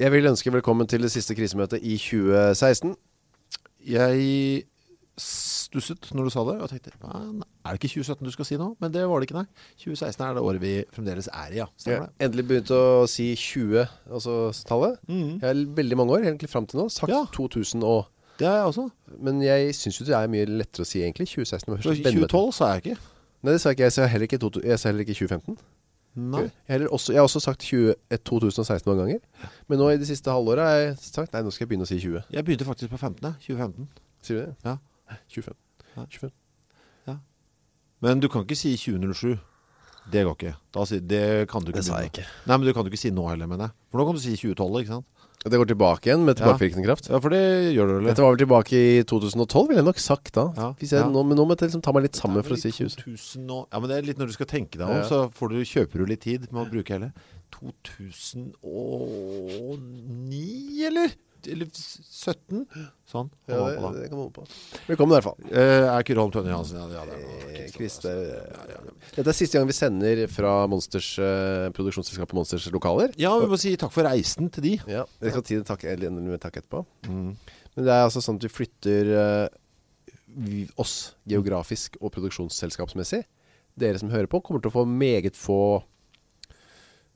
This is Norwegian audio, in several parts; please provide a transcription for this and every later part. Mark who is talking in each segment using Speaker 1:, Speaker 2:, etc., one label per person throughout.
Speaker 1: Jeg vil ønske velkommen til det siste krisemøtet i 2016 Jeg stusset når du sa det Og tenkte, nei, nei, er det ikke 2017 du skal si nå? Men det var det ikke, nei 2016 er det året vi fremdeles Sånn er i, ja
Speaker 2: Jeg
Speaker 1: Stemmer det?
Speaker 2: endelig begynte å si 20, altså tallet. Jeg har veldig mange år, egentlig frem til nå, sagt
Speaker 1: Mhm. Ja.
Speaker 2: 2000 og...
Speaker 1: Det er jeg også
Speaker 2: Men jeg synes jo det er mye lettere å si egentlig 2016 var
Speaker 1: For
Speaker 2: først.
Speaker 1: 2012 sa jeg ikke
Speaker 2: Nei, det sa ikke jeg, så jeg heller ikke, to- jeg sa heller ikke 2015
Speaker 1: Nei
Speaker 2: jeg, heller også, jeg har også sagt 20, eh, 2016 mange ganger Men nå i det siste halvåret har jeg sagt Nei, nå skal jeg begynne å si 20
Speaker 1: Jeg begynte faktisk på 15, ja, 2015
Speaker 2: Sier du det?
Speaker 1: ja.
Speaker 2: 25
Speaker 1: Nei.
Speaker 2: 25
Speaker 1: Men du kan ikke si 2007 Det går ikke da, si- Det kan du ikke
Speaker 2: Det sa jeg ikke.
Speaker 1: begynne. Nei, men du kan du ikke si nå heller, mener jeg For nå kan du si 2012, ikke sant?
Speaker 2: Det går tilbake igjen med
Speaker 1: Ja.
Speaker 2: tilbakevirkende kraft
Speaker 1: Ja, for det gjør du vel
Speaker 2: Dette var vel tilbake i 2012, ville jeg nok sagt da
Speaker 1: Ja,
Speaker 2: Hvis jeg,
Speaker 1: ja.
Speaker 2: Nå, Men nå må jeg liksom ta meg litt sammen
Speaker 1: Ja,
Speaker 2: for å
Speaker 1: men
Speaker 2: si
Speaker 1: i
Speaker 2: 20
Speaker 1: 2000 og, Ja, men det er litt når du skal tenke deg om
Speaker 2: Ja.
Speaker 1: Så får du, kjøper du litt tid med å bruke hele 2009, eller? Eller 17? Sånn
Speaker 2: ja,
Speaker 1: Hva var
Speaker 2: det, det
Speaker 1: på da?
Speaker 2: kan man på Velkommen i hvert fall
Speaker 1: Eh, er ikke Rolm Tønne Johansen? Ja, ja, det er noe
Speaker 2: Eh,
Speaker 1: ikke
Speaker 2: Chris,
Speaker 1: sånn,
Speaker 2: det, Dette er siste gang vi sender fra Monsters, eh, produksjonsselskapet Monsters lokaler
Speaker 1: altså. Ja, vi må si takk for reisen til de
Speaker 2: Ja, jeg skal tiden takke Elin med takk etterpå Men det er altså sånn at vi flytter eh, vi, oss geografisk og produksjonsselskapsmessig Dere som hører på kommer til å få meget få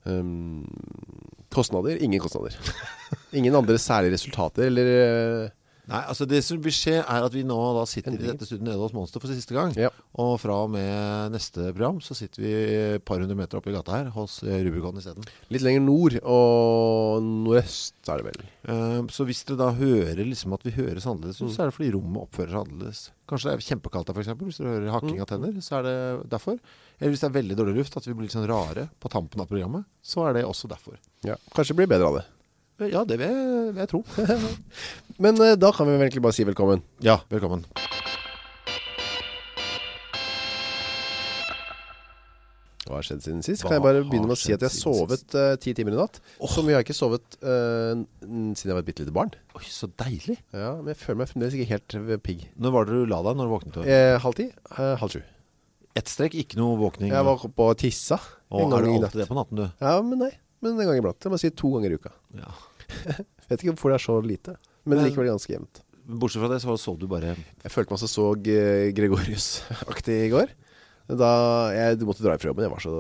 Speaker 2: um, kostnader, ingen kostnader Ingen andre særlige resultater eller, eh,
Speaker 1: Nei, altså det som vil skje er at vi nå da sitter i
Speaker 2: Endringer.
Speaker 1: dette studiet nede hos Monster for siste gang
Speaker 2: Ja.
Speaker 1: Og fra og med neste program så sitter vi et par hundre meter oppe i gata her Hos eh, Rubicon i stedet
Speaker 2: Litt lenger nord og nordøst er det vel
Speaker 1: Eh, Så hvis dere da hører liksom at vi høres annerledes ut, så er det fordi rommet oppfører seg annerledes. Kanskje det er kjempekaldt der for eksempel, hvis dere hører hakking av tenner, så er det derfor. Eller hvis det er veldig dårlig luft, at vi blir litt sånn rare på tampen av programmet, så er det også derfor.
Speaker 2: ja. Kanskje det blir bedre av det
Speaker 1: Eh, Ja, det vil jeg, vil jeg tro.
Speaker 2: Men eh, da kan vi vel egentlig bare si velkommen
Speaker 1: ja, velkommen.
Speaker 2: Hva har skjedd siden sist?
Speaker 1: Hva
Speaker 2: Kan jeg bare
Speaker 1: har
Speaker 2: begynne med å si
Speaker 1: skjedd
Speaker 2: at jeg har
Speaker 1: siden
Speaker 2: sovet eh, ti timer i natt Som jeg har ikke sovet eh, n- siden jeg var et bittelite barn
Speaker 1: Oi, så deilig.
Speaker 2: Ja, men jeg føler meg fremdeles ikke helt eh, pigg
Speaker 1: Når var det du la deg når du våknet? Eh,
Speaker 2: eh, Halv ti, eh, halv sju
Speaker 1: Et strekk, ikke noe våkning.
Speaker 2: Jeg var på tissa
Speaker 1: og har du alltid det på natten, du?
Speaker 2: Ja, men nei, men en gang iblant Jeg må si to ganger i uka
Speaker 1: Ja.
Speaker 2: Vet ikke hvorfor det er så lite Men
Speaker 1: Men-
Speaker 2: likevel ganske jevnt
Speaker 1: Bortsett fra det, så sov du bare...
Speaker 2: Jeg følte meg så så G- Gregorius-aktig i går Da jeg måtte dra fra jobben Jeg var så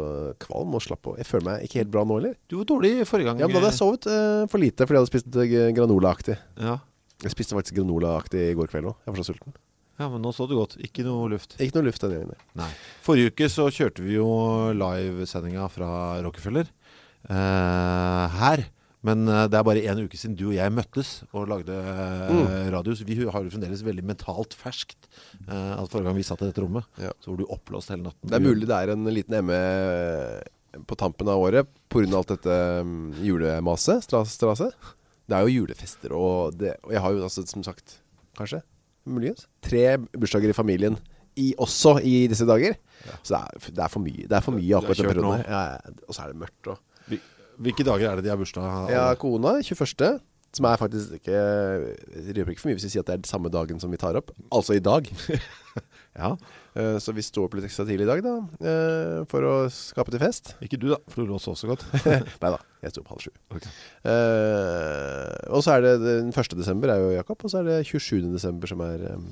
Speaker 2: kvalm og slapp på Jeg føler meg ikke helt bra nå heller
Speaker 1: Du var dårlig forrige gang.
Speaker 2: Ja, men da hadde jeg sovet eh, for lite Fordi jeg hadde spist eh, granola-aktig
Speaker 1: Ja.
Speaker 2: Jeg spiste faktisk granola-aktig i går kveld også Jeg var så sulten
Speaker 1: ja, men nå så du godt. Ikke noe luft.
Speaker 2: Ikke noe luft denne gangen
Speaker 1: Nei. Forrige uke så kjørte vi jo livesendinga fra Rockefeller eh, her. Men eh, det er bare en uke siden du og jeg møttes og lagde eh,
Speaker 2: Mm.
Speaker 1: radio. Så vi har jo fremdeles veldig mentalt ferskt eh, at forrige gang vi satt i dette rommet,
Speaker 2: Ja.
Speaker 1: så var du oppblåst hele natten.
Speaker 2: Det er mulig det er en liten emme På tampen av året På grunn av alt dette mm, julemase stras, strase. Det er jo julefester Og, det, og jeg har jo altså, som sagt Kanskje, muligens Tre bursdager i familien i, Også i disse dager Så det er, det er for mye Det er for mye
Speaker 1: har
Speaker 2: akkurat den
Speaker 1: kjørt
Speaker 2: perioden
Speaker 1: nå.
Speaker 2: her. ja, ja, Og så er det mørkt og
Speaker 1: Hvil- Hvilke dager er det de har bursdag? alle?
Speaker 2: Jeg har kona, 21. Som er faktisk ikke jeg Røper ikke for mye hvis vi sier at det er den samme dagen som vi tar opp Altså i dag
Speaker 1: ja.
Speaker 2: Eh, Så vi står opp litt ekstra tidlig i dag da eh, For å skape til fest
Speaker 1: Ikke du, da, for du lå og sov så godt.
Speaker 2: Neida, jeg sto opp halv sju Eh, Og så er det den 1. desember er jo Jakob Og så er det 27. desember som er em,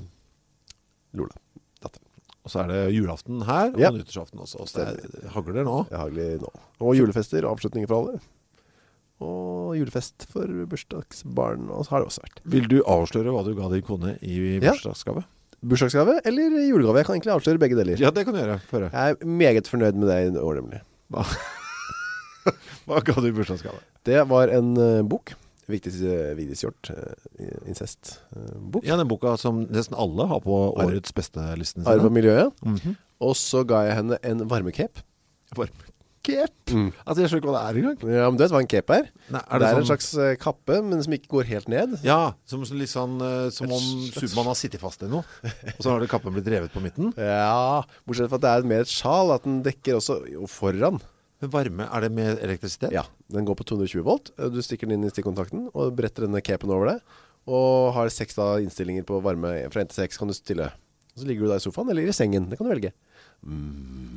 Speaker 2: Lola Datter
Speaker 1: Og så er det julaften her, og
Speaker 2: Ja.
Speaker 1: nyttårsaften også. Så det er- det hagler nå.
Speaker 2: Jeg har egentlig nå Og julefester og avslutninger for alle Og julefest for bursdagsbarn Og så har det også vært
Speaker 1: Vil du avsløre hva du ga din kone i
Speaker 2: Ja.
Speaker 1: bursdagsgave?
Speaker 2: Bursdagsgave eller julegave Jeg kan egentlig avsløre begge deler
Speaker 1: Ja, det kan du gjøre. Få høre.
Speaker 2: Jeg er meget fornøyd med det i år nemlig
Speaker 1: Hva, Hva ga du i bursdagsgave?
Speaker 2: Det var en eh, bok Vigdis, eh, Vigdis Hjort eh, Incest eh, bok
Speaker 1: Ja, den boka som nesten alle har på årets beste listen sin.
Speaker 2: Arv og miljøet
Speaker 1: Mhm.
Speaker 2: Og så ga jeg henne en varmecape
Speaker 1: Varm Kep Altså, jeg skjønner ikke hva det er engang
Speaker 2: Ja, men du vet hva en cape er
Speaker 1: Nei,
Speaker 2: det, er en slags eh, kappe Men som ikke går helt ned
Speaker 1: Ja, som, som litt sånn eh, Som om Superman har sittet fast i noe Og så har det kappen blitt revet på midten
Speaker 2: Ja, bortsett fra at det er mer et sjal At den dekker også jo, foran
Speaker 1: Men varme, er det med elektrisitet?
Speaker 2: Ja, den går på 220 volt Du stikker den inn i stikkontakten Og bretter denne capen over deg Og har seks da innstillinger på varme Fra 1 til 6 kan du stille Og så ligger du da i sofaen eller i sengen Det kan du velge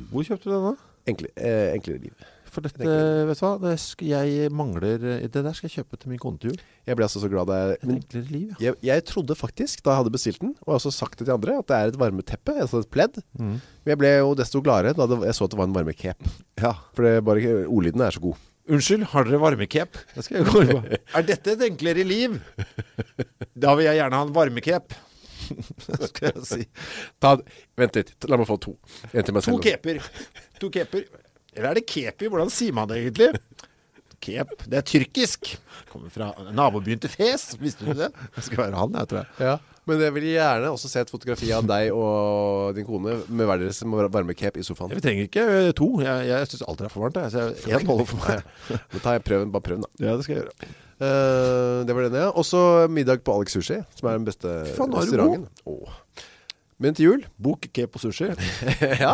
Speaker 1: Hvor kjøpte du den da?
Speaker 2: Enkle, eh, Enklere liv
Speaker 1: for dette,
Speaker 2: tenker
Speaker 1: vet du hva? Det, sk- jeg mangler, eh, det der skal jeg kjøpe til min kone til jul.
Speaker 2: Jeg ble altså så glad da jeg
Speaker 1: Et
Speaker 2: Men
Speaker 1: enklere liv, ja.
Speaker 2: jeg, jeg trodde faktisk da jeg hadde bestilt den Og jeg har også sagt det til andre At det er et varmeteppe Altså et pledd Men jeg ble jo desto gladere Da det, jeg så at det var en varmekep
Speaker 1: ja.
Speaker 2: For det bare Ordlyden er så god
Speaker 1: Unnskyld, har dere varmekep? Det skal jeg gå inn på. Er dette et enklere liv? Da vil jeg gjerne ha en varmekep. skal jeg si.
Speaker 2: Ta, Vent litt La meg få to En til meg
Speaker 1: To
Speaker 2: selv
Speaker 1: keper. To keper. Eller er det kepi? Hvordan sier man det egentlig? Kep, det er tyrkisk. Kommer fra nabobyen til Fes, visste du det? Det skal være han, jeg tror jeg.
Speaker 2: Ja Men jeg vil gjerne også se et fotografi Av deg og din kone Med hver deres varmekep i sofaen
Speaker 1: Vi trenger ikke ø, to. Jeg, jeg syns alt er for varmt. jeg. Så jeg- én holder for meg.
Speaker 2: Da tar jeg prøven Bare prøven da
Speaker 1: Ja, det skal jeg gjøre.
Speaker 2: Eh, Det var denne, ja Også middag på Alex Sushi Som er den beste
Speaker 1: faen, nå er du
Speaker 2: restauranten Åh. Men til jul
Speaker 1: Bok, kep og sushi.
Speaker 2: ja.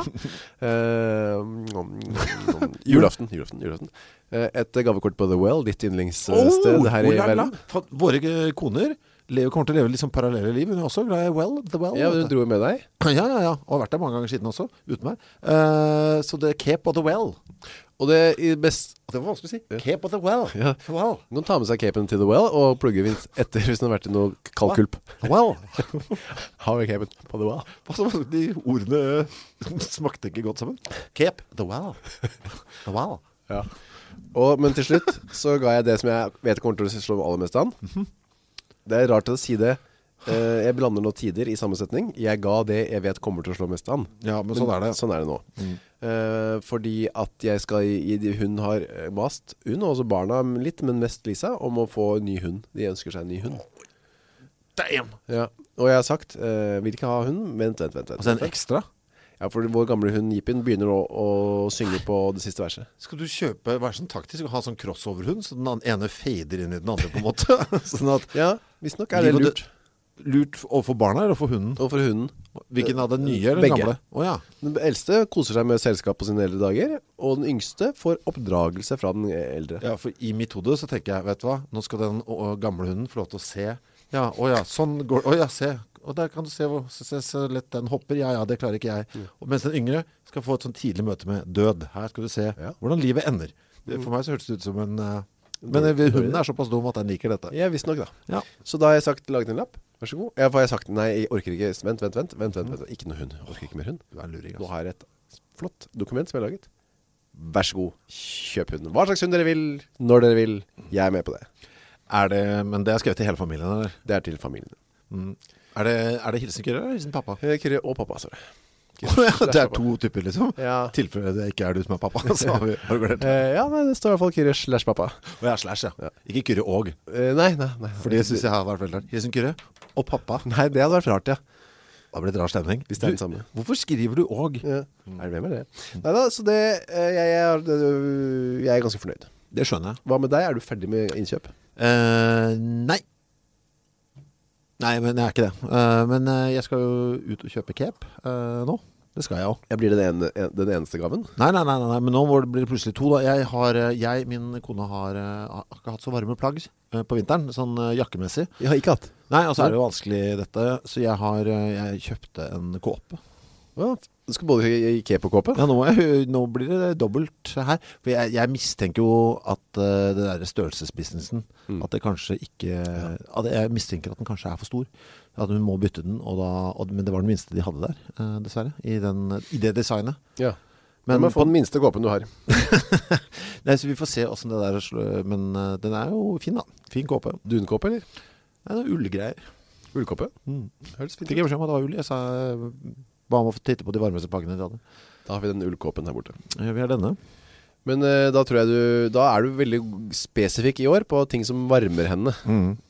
Speaker 2: Eh, nom, nom, nom. julaften, julaften, julaften. Eh, et gavekort på The Well, ditt yndlingssted
Speaker 1: Åh,
Speaker 2: her i
Speaker 1: oh la la.
Speaker 2: verden.
Speaker 1: Fatt, Våre ø, koner lever, kommer til å leve litt sånn parallelle liv. Hun er også glad i Well, The Well.
Speaker 2: Ja,
Speaker 1: vet
Speaker 2: du
Speaker 1: du.
Speaker 2: dro jo med deg.
Speaker 1: Ja, ja, ja. Og har vært der mange ganger siden også, uten meg. Eh, så det er Cape of the Well.
Speaker 2: Og det i best...
Speaker 1: Det var vanskelig å si. Cape of the Well.
Speaker 2: Ja.
Speaker 1: Well.
Speaker 2: Du kan ta med seg capen til The Well og plugge vinst etter hvis den har vært i noe kalkulp.
Speaker 1: Well.
Speaker 2: Har vi capen på The Well?
Speaker 1: Altså, de ordene ø, smakte ikke godt sammen. Cape, the Well. The Well.
Speaker 2: Ja. Og, men til slutt så ga jeg det som jeg vet kommer til å slå meg aller mest an.
Speaker 1: Mhm.
Speaker 2: Det er rart å si det. Eh, jeg blander nå tider i samme setning. Jeg ga det jeg vet kommer til å slå mest an.
Speaker 1: Ja, men sånn er det.
Speaker 2: Sånn er det nå. Eh, fordi at jeg skal i, i- Hun har eh, mast Hun og også barna litt, men mest Lisa Om å få ny hund De ønsker seg en ny hund
Speaker 1: Damn!
Speaker 2: ja. Og jeg har sagt eh, Vil ikke ha hund Vent, vent, vent, vent,
Speaker 1: Altså en
Speaker 2: vent.
Speaker 1: ekstra.
Speaker 2: Ja, for vår gamle hund Jipin Begynner nå å synge på det siste verset
Speaker 1: Skal du kjøpe, være sånn taktisk og ha sånn crossoverhund, så den an- ene fader inn i den andre på en måte? sånn at
Speaker 2: Ja, visst nok er det
Speaker 1: Liv og
Speaker 2: lurt
Speaker 1: død- Lurt overfor barna eller overfor hunden?
Speaker 2: Og for hunden
Speaker 1: Hvilken av den nye eller
Speaker 2: Begge.
Speaker 1: den gamle? Å ja.
Speaker 2: Den eldste koser seg med selskap på sine eldre dager Og den yngste får oppdragelse fra den eldre
Speaker 1: ja, for i mitt hode så tenker jeg, vet du hva, nå skal den å, å, gamle hunden få lov til å se. Ja, å ja, sånn går det. Å ja, se. Og der kan du se hvor se, se, så lett den hopper. Ja, ja, det klarer ikke jeg. Og mens den yngre skal få et sånn tidlig møte med død. Her skal du se
Speaker 2: Ja.
Speaker 1: hvordan livet ender. Det, for meg så hørtes det ut som Mm. en... eh, men eh, hunden er såpass dum at den liker dette.
Speaker 2: Ja, visst nok da
Speaker 1: Ja.
Speaker 2: Så da har jeg sagt, laget en lapp Vær så god Ja, for jeg har sagt, nei, jeg orker ikke Vent, vent, vent, vent, vent, vent. Ikke noe hund, jeg orker ikke mer hund
Speaker 1: Du er en luring,
Speaker 2: Nå
Speaker 1: altså.
Speaker 2: har jeg et flott dokument som jeg har laget Vær så god, kjøp hunden Hva slags hund dere vil, når dere vil Jeg er med på det
Speaker 1: Er det, men det er skrevet til hele familien, eller?
Speaker 2: Det er til familien
Speaker 1: Mm. Er det, er det hilsen Kyrre, eller hilsen pappa?
Speaker 2: Eh, Kyrre og pappa, sorry
Speaker 1: Ja, det er to typer, liksom.
Speaker 2: Ja.
Speaker 1: Tilfelle det ikke er du som er pappa, så har vi har vi glemt.
Speaker 2: Eh, Ja, nei, det står i hvert fall Kyrre slash pappa
Speaker 1: Og jeg er slash, ja. Ikke Kyrre og,
Speaker 2: Eh, Nei, nei, nei
Speaker 1: for det synes jeg har vært veldig rart. Hilsen Kyrre og pappa.
Speaker 2: Nei, det hadde vært rart, ja
Speaker 1: Da blir det rar stemning.
Speaker 2: Hvis det er den samme.
Speaker 1: Du, hvorfor skriver du og?
Speaker 2: Ja. Er det hvem er det? Neida, så det, eh, jeg, jeg, er- det, jeg er ganske fornøyd
Speaker 1: Det skjønner jeg.
Speaker 2: Hva med deg? Er du ferdig med innkjøp?
Speaker 1: Eh, nei. Nei, men jeg er ikke det. Eh, men eh, jeg skal jo ut og kjøpe cape eh, nå. Det skal jeg også.
Speaker 2: Jeg blir den, ene, en, den eneste gaven
Speaker 1: Nei, nei, nei, nei, nei, men nå må det- blir det plutselig to da Jeg, har, eh, jeg min kone har, eh, har ikke hatt så varme plagg eh, på vinteren Sånn eh, jakkemessig
Speaker 2: Jeg har ikke hatt
Speaker 1: Nei, altså er det jo vanskelig dette Så jeg har, eh, jeg kjøpte en kåpe
Speaker 2: ja, Du skal både i kepo kåpe
Speaker 1: Ja, nå, må jeg, nå blir det dobbelt her For jeg, jeg mistenker jo at eh, det der størrelsesbusinessen
Speaker 2: Mm.
Speaker 1: At det kanskje ikke at Jeg mistenker at den kanskje er for stor At hun må bytte den og da, og, Men det var den minste de hadde der, eh, dessverre I, den, I det designet
Speaker 2: Ja
Speaker 1: Men
Speaker 2: Men man får den minste kåpen du har
Speaker 1: Nei, så vi får se hvordan det der slår Men eh, den er jo fin da, fin kåpe
Speaker 2: Dunkåpe eller?
Speaker 1: Nei, det er ullgreier
Speaker 2: Ullkåpe?
Speaker 1: Mm.
Speaker 2: Høres fint
Speaker 1: Fikk jeg beskjed om at det var ull Jeg sa eh, Ba om å få titte på de varmeste plaggene de hadde
Speaker 2: ut Da har vi den ullkåpen her borte
Speaker 1: Eh, Vi har denne
Speaker 2: Men eh, da tror jeg du Da er du veldig spesifikk i år På ting som varmer henne
Speaker 1: varme,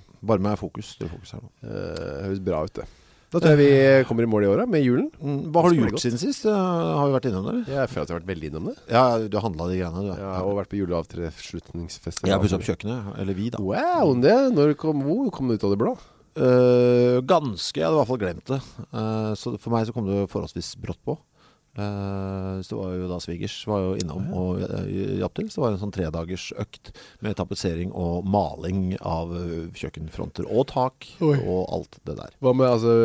Speaker 2: Mm.
Speaker 1: varme er fokus Det er fokus her nå
Speaker 2: Eh, Høres bra ut det Da tror jeg vi kommer i mål i året Med julen
Speaker 1: Hva har
Speaker 2: Mm. Smaker
Speaker 1: du gjort
Speaker 2: godt.
Speaker 1: siden sist? Eh, Har vi vært innom det? eller?
Speaker 2: Jeg føler at jeg har vært veldig innom det
Speaker 1: Ja, du har handlet de greiene du
Speaker 2: Jeg har også vært på juleavtrefslutningsfest
Speaker 1: Jeg har pusset opp kjøkkenet Eller vi da Mm.
Speaker 2: Wow, det, når kom, hvor kom det ut av det blå?
Speaker 1: Eh, Ganske, jeg hadde i hvert fall glemt det Eh, Så for meg så kom det forholdsvis brått på Eh, så det var jo da Svigers var jo innom og eh, hjalp til Så det var en sånn tredagers økt Med tapetsering og maling av eh, kjøkkenfronter og tak
Speaker 2: Oi.
Speaker 1: Og alt det der
Speaker 2: Hva med altså,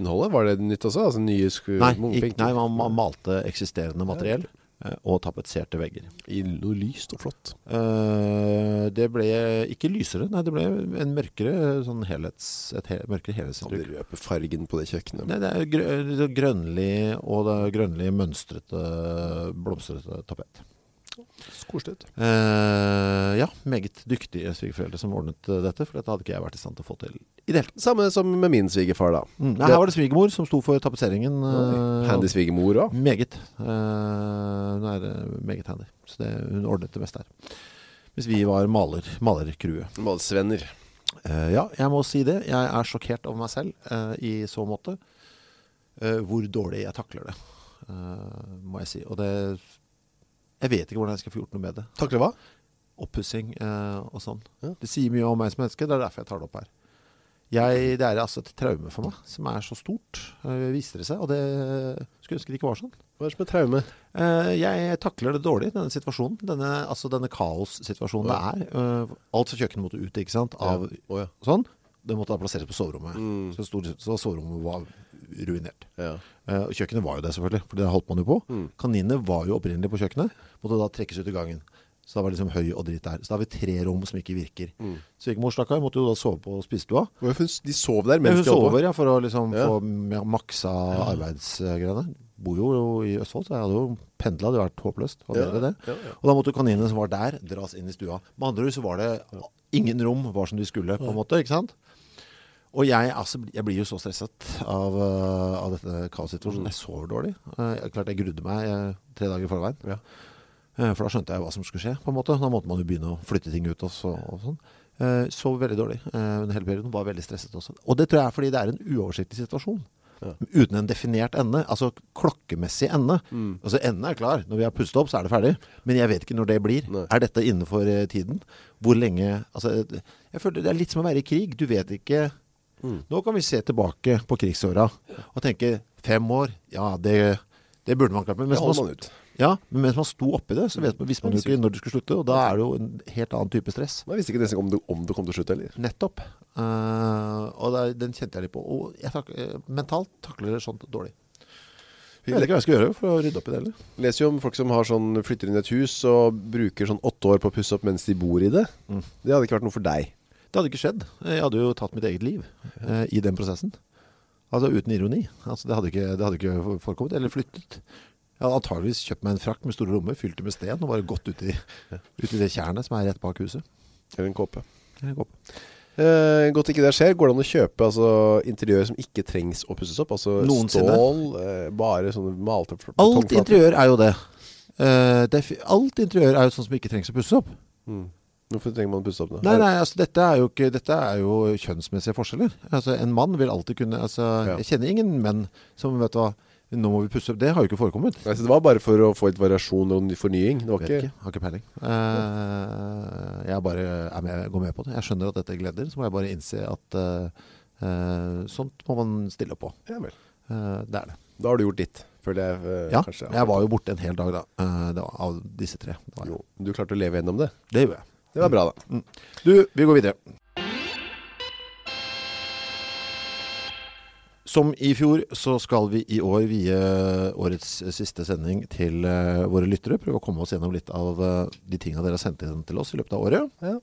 Speaker 2: innholdet? Var det nytt også? Altså nye sku...
Speaker 1: Nei,
Speaker 2: Munch-
Speaker 1: ikke, nei man, man malte eksisterende materiell eh, og tapetserte vegger.
Speaker 2: I noe lyst og flott
Speaker 1: Eh, det ble ikke lysere, nei, det ble en mørkere, sånn helhets, et he, mørkere helhetsinntrykk.
Speaker 2: røper fargen på det kjøkkenet
Speaker 1: Nei, det er grø det er grønnlig, og det er grønnlig mønstrete, blomstrete tapet.
Speaker 2: Skorstøtt
Speaker 1: Eh, ja, meget dyktige svigerforeldre som ordnet eh, dette, for dette hadde ikke jeg vært i stand til å få til i det hele tatt.
Speaker 2: Samme som med min svigerfar da
Speaker 1: Mm. Nei, her var det svigermor som sto for tapetseringen. eh,
Speaker 2: Handy svigermor også
Speaker 1: Meget. Eh, hun er eh, meget handy. Så det, hun ordnet det meste her. Hvis vi var maler, malerkrue.
Speaker 2: Målsvenner
Speaker 1: Eh, ja, jeg må si det. Jeg er sjokkert over meg selv eh, i så måte. eh, hvor dårlig jeg takler det, eh, må jeg si. Og det Jeg vet ikke hvordan jeg skal få gjort noe med det.
Speaker 2: Takler hva?
Speaker 1: Oppussing eh, og sånn.
Speaker 2: Ja.
Speaker 1: Det sier mye om meg som menneske. Det er derfor jeg tar det opp her. Jeg, det er altså et traume for meg som er så stort, eh, viser det seg. Og det skulle ønske det ikke var sånn.
Speaker 2: Hva er det som er traume?
Speaker 1: Eh, jeg takler det dårlig, denne situasjonen. Denne, altså denne kaossituasjonen det er. Eh, alt fra kjøkkenet måtte ut, ikke sant? Av,
Speaker 2: Åja
Speaker 1: Sånn. Det måtte da plasseres på soverommet. Så, stort sett så soverommet var ruinert.
Speaker 2: ja.
Speaker 1: Eh, og kjøkkenet var jo det selvfølgelig, for det holdt man jo på. Kaninene var jo opprinnelig på kjøkkenet, måtte da trekkes ut i gangen. Så da var det liksom høy og dritt der. Så da har vi tre rom som ikke virker. Svigermor stakkar måtte jo da sove på spisestua.
Speaker 2: De sov der
Speaker 1: Men
Speaker 2: mens
Speaker 1: hun
Speaker 2: de holdt på
Speaker 1: sover, ja, for å liksom
Speaker 2: Ja.
Speaker 1: få m- maksa arbeidsgreiene. Bor jo i Østfold, så jeg hadde jo pendlet, det hadde vært håpløst. Hadde
Speaker 2: Ja,
Speaker 1: dere det.
Speaker 2: ja, ja.
Speaker 1: Og da måtte jo kaninene som var der, dras inn i stua. Med andre ord så var det ingen rom var som de skulle, på en måte, ikke sant? Og jeg, altså, jeg blir jo så stresset av, eh, av dette
Speaker 2: Mm.
Speaker 1: kaossituasjonen. Jeg sover dårlig. Eh, Jeg, klart jeg grudde meg eh, tre dager i forveien.
Speaker 2: Ja.
Speaker 1: Eh, For da skjønte jeg hva som skulle skje, på en måte. Da måtte man jo begynne å flytte ting ut og, så, og sånn. Eh, Sov veldig dårlig eh, under hele perioden, var veldig stresset også. Og det tror jeg er fordi det er en uoversiktlig situasjon.
Speaker 2: Ja.
Speaker 1: Uten en definert ende, altså klokkemessig ende.
Speaker 2: Mm.
Speaker 1: Altså enden er klar, når vi har pustet opp så er det ferdig. Men jeg vet ikke når det blir.
Speaker 2: Nei.
Speaker 1: Er dette innenfor eh, tiden? Hvor lenge? Altså, eh, jeg føler det er litt som å være i krig. Du vet ikke...
Speaker 2: Mm.
Speaker 1: Nå kan vi se tilbake på krigsåra og tenke fem år, ja, det, det burde man klart. Men
Speaker 2: Det
Speaker 1: mens
Speaker 2: holder
Speaker 1: man,
Speaker 2: man ut
Speaker 1: ja, men mens man sto oppi det, så vet man, visste man jo ikke når det skulle slutte, og da er det jo en helt annen type stress.
Speaker 2: Man visste ikke nesten om det, om det kom til slutt heller
Speaker 1: Nettopp. Eh, og det, er- den kjente jeg litt på. Og jeg tak eh, mentalt takler det sånt dårlig. Jeg vet ikke hva jeg skal gjøre for å rydde opp i det heller.
Speaker 2: Leser jo om folk som har sånn, flytter inn i et hus Og bruker sånn åtte år på å pusse opp mens de bor i det
Speaker 1: Mm.
Speaker 2: Det hadde ikke vært noe for deg
Speaker 1: Det hadde ikke skjedd. Eh, Jeg hadde jo tatt mitt eget liv eh, i den prosessen. Altså uten ironi. Altså, det, hadde ikke, det hadde ikke forekommet, eller flyttet. Jeg hadde antageligvis kjøpt meg en frakk med store lommer, fylt det med sten, og bare gått ut i, ut i det kjernet som er rett bak huset.
Speaker 2: Eller en kåpe
Speaker 1: Jeg går på.
Speaker 2: Eh, godt ikke det skjer Går det an å kjøpe altså, interiør som ikke trengs å pusses opp Altså
Speaker 1: Noensinne.
Speaker 2: stål, eh, bare sånne malte fl-
Speaker 1: Alt
Speaker 2: betongflater.
Speaker 1: interiør er jo det. Eh, det er fi- alt interiør er jo sånn som ikke trengs å pusses opp.
Speaker 2: mm. Hvorfor trenger man å pusse opp det?
Speaker 1: Nei, nei, altså dette er jo, ikke, dette er jo kjønnsmessige forskjeller. Altså en mann vil alltid kunne, altså
Speaker 2: Ja.
Speaker 1: jeg kjenner ingen menn som vet du hva, nå må vi pusse opp, det har jo ikke forekommet.
Speaker 2: Nei, så det var bare for å få litt variasjon og ny- fornying Det var
Speaker 1: Vet
Speaker 2: ikke,
Speaker 1: ikke, har ikke peiling. Eh, jeg bare er med, går med på det. Jeg skjønner at dette gleder, så må jeg bare innse at eh, eh, sånt må man stille opp på.
Speaker 2: Ja vel
Speaker 1: Eh, det er det.
Speaker 2: Da har du gjort ditt Føler jeg eh,
Speaker 1: Ja,
Speaker 2: kanskje
Speaker 1: jeg var jo borte en hel dag da, eh, det var, av disse tre. Det, var, jeg.
Speaker 2: jo, Du klarte å leve gjennom det
Speaker 1: det gjorde jeg.
Speaker 2: Det var bra da
Speaker 1: Du, vi går videre. Som i fjor så skal vi i år vie årets siste sending til eh, våre lyttere. Prøve å komme oss gjennom litt av eh, de tingene dere har sendt inn til oss i løpet av året.
Speaker 2: Ja.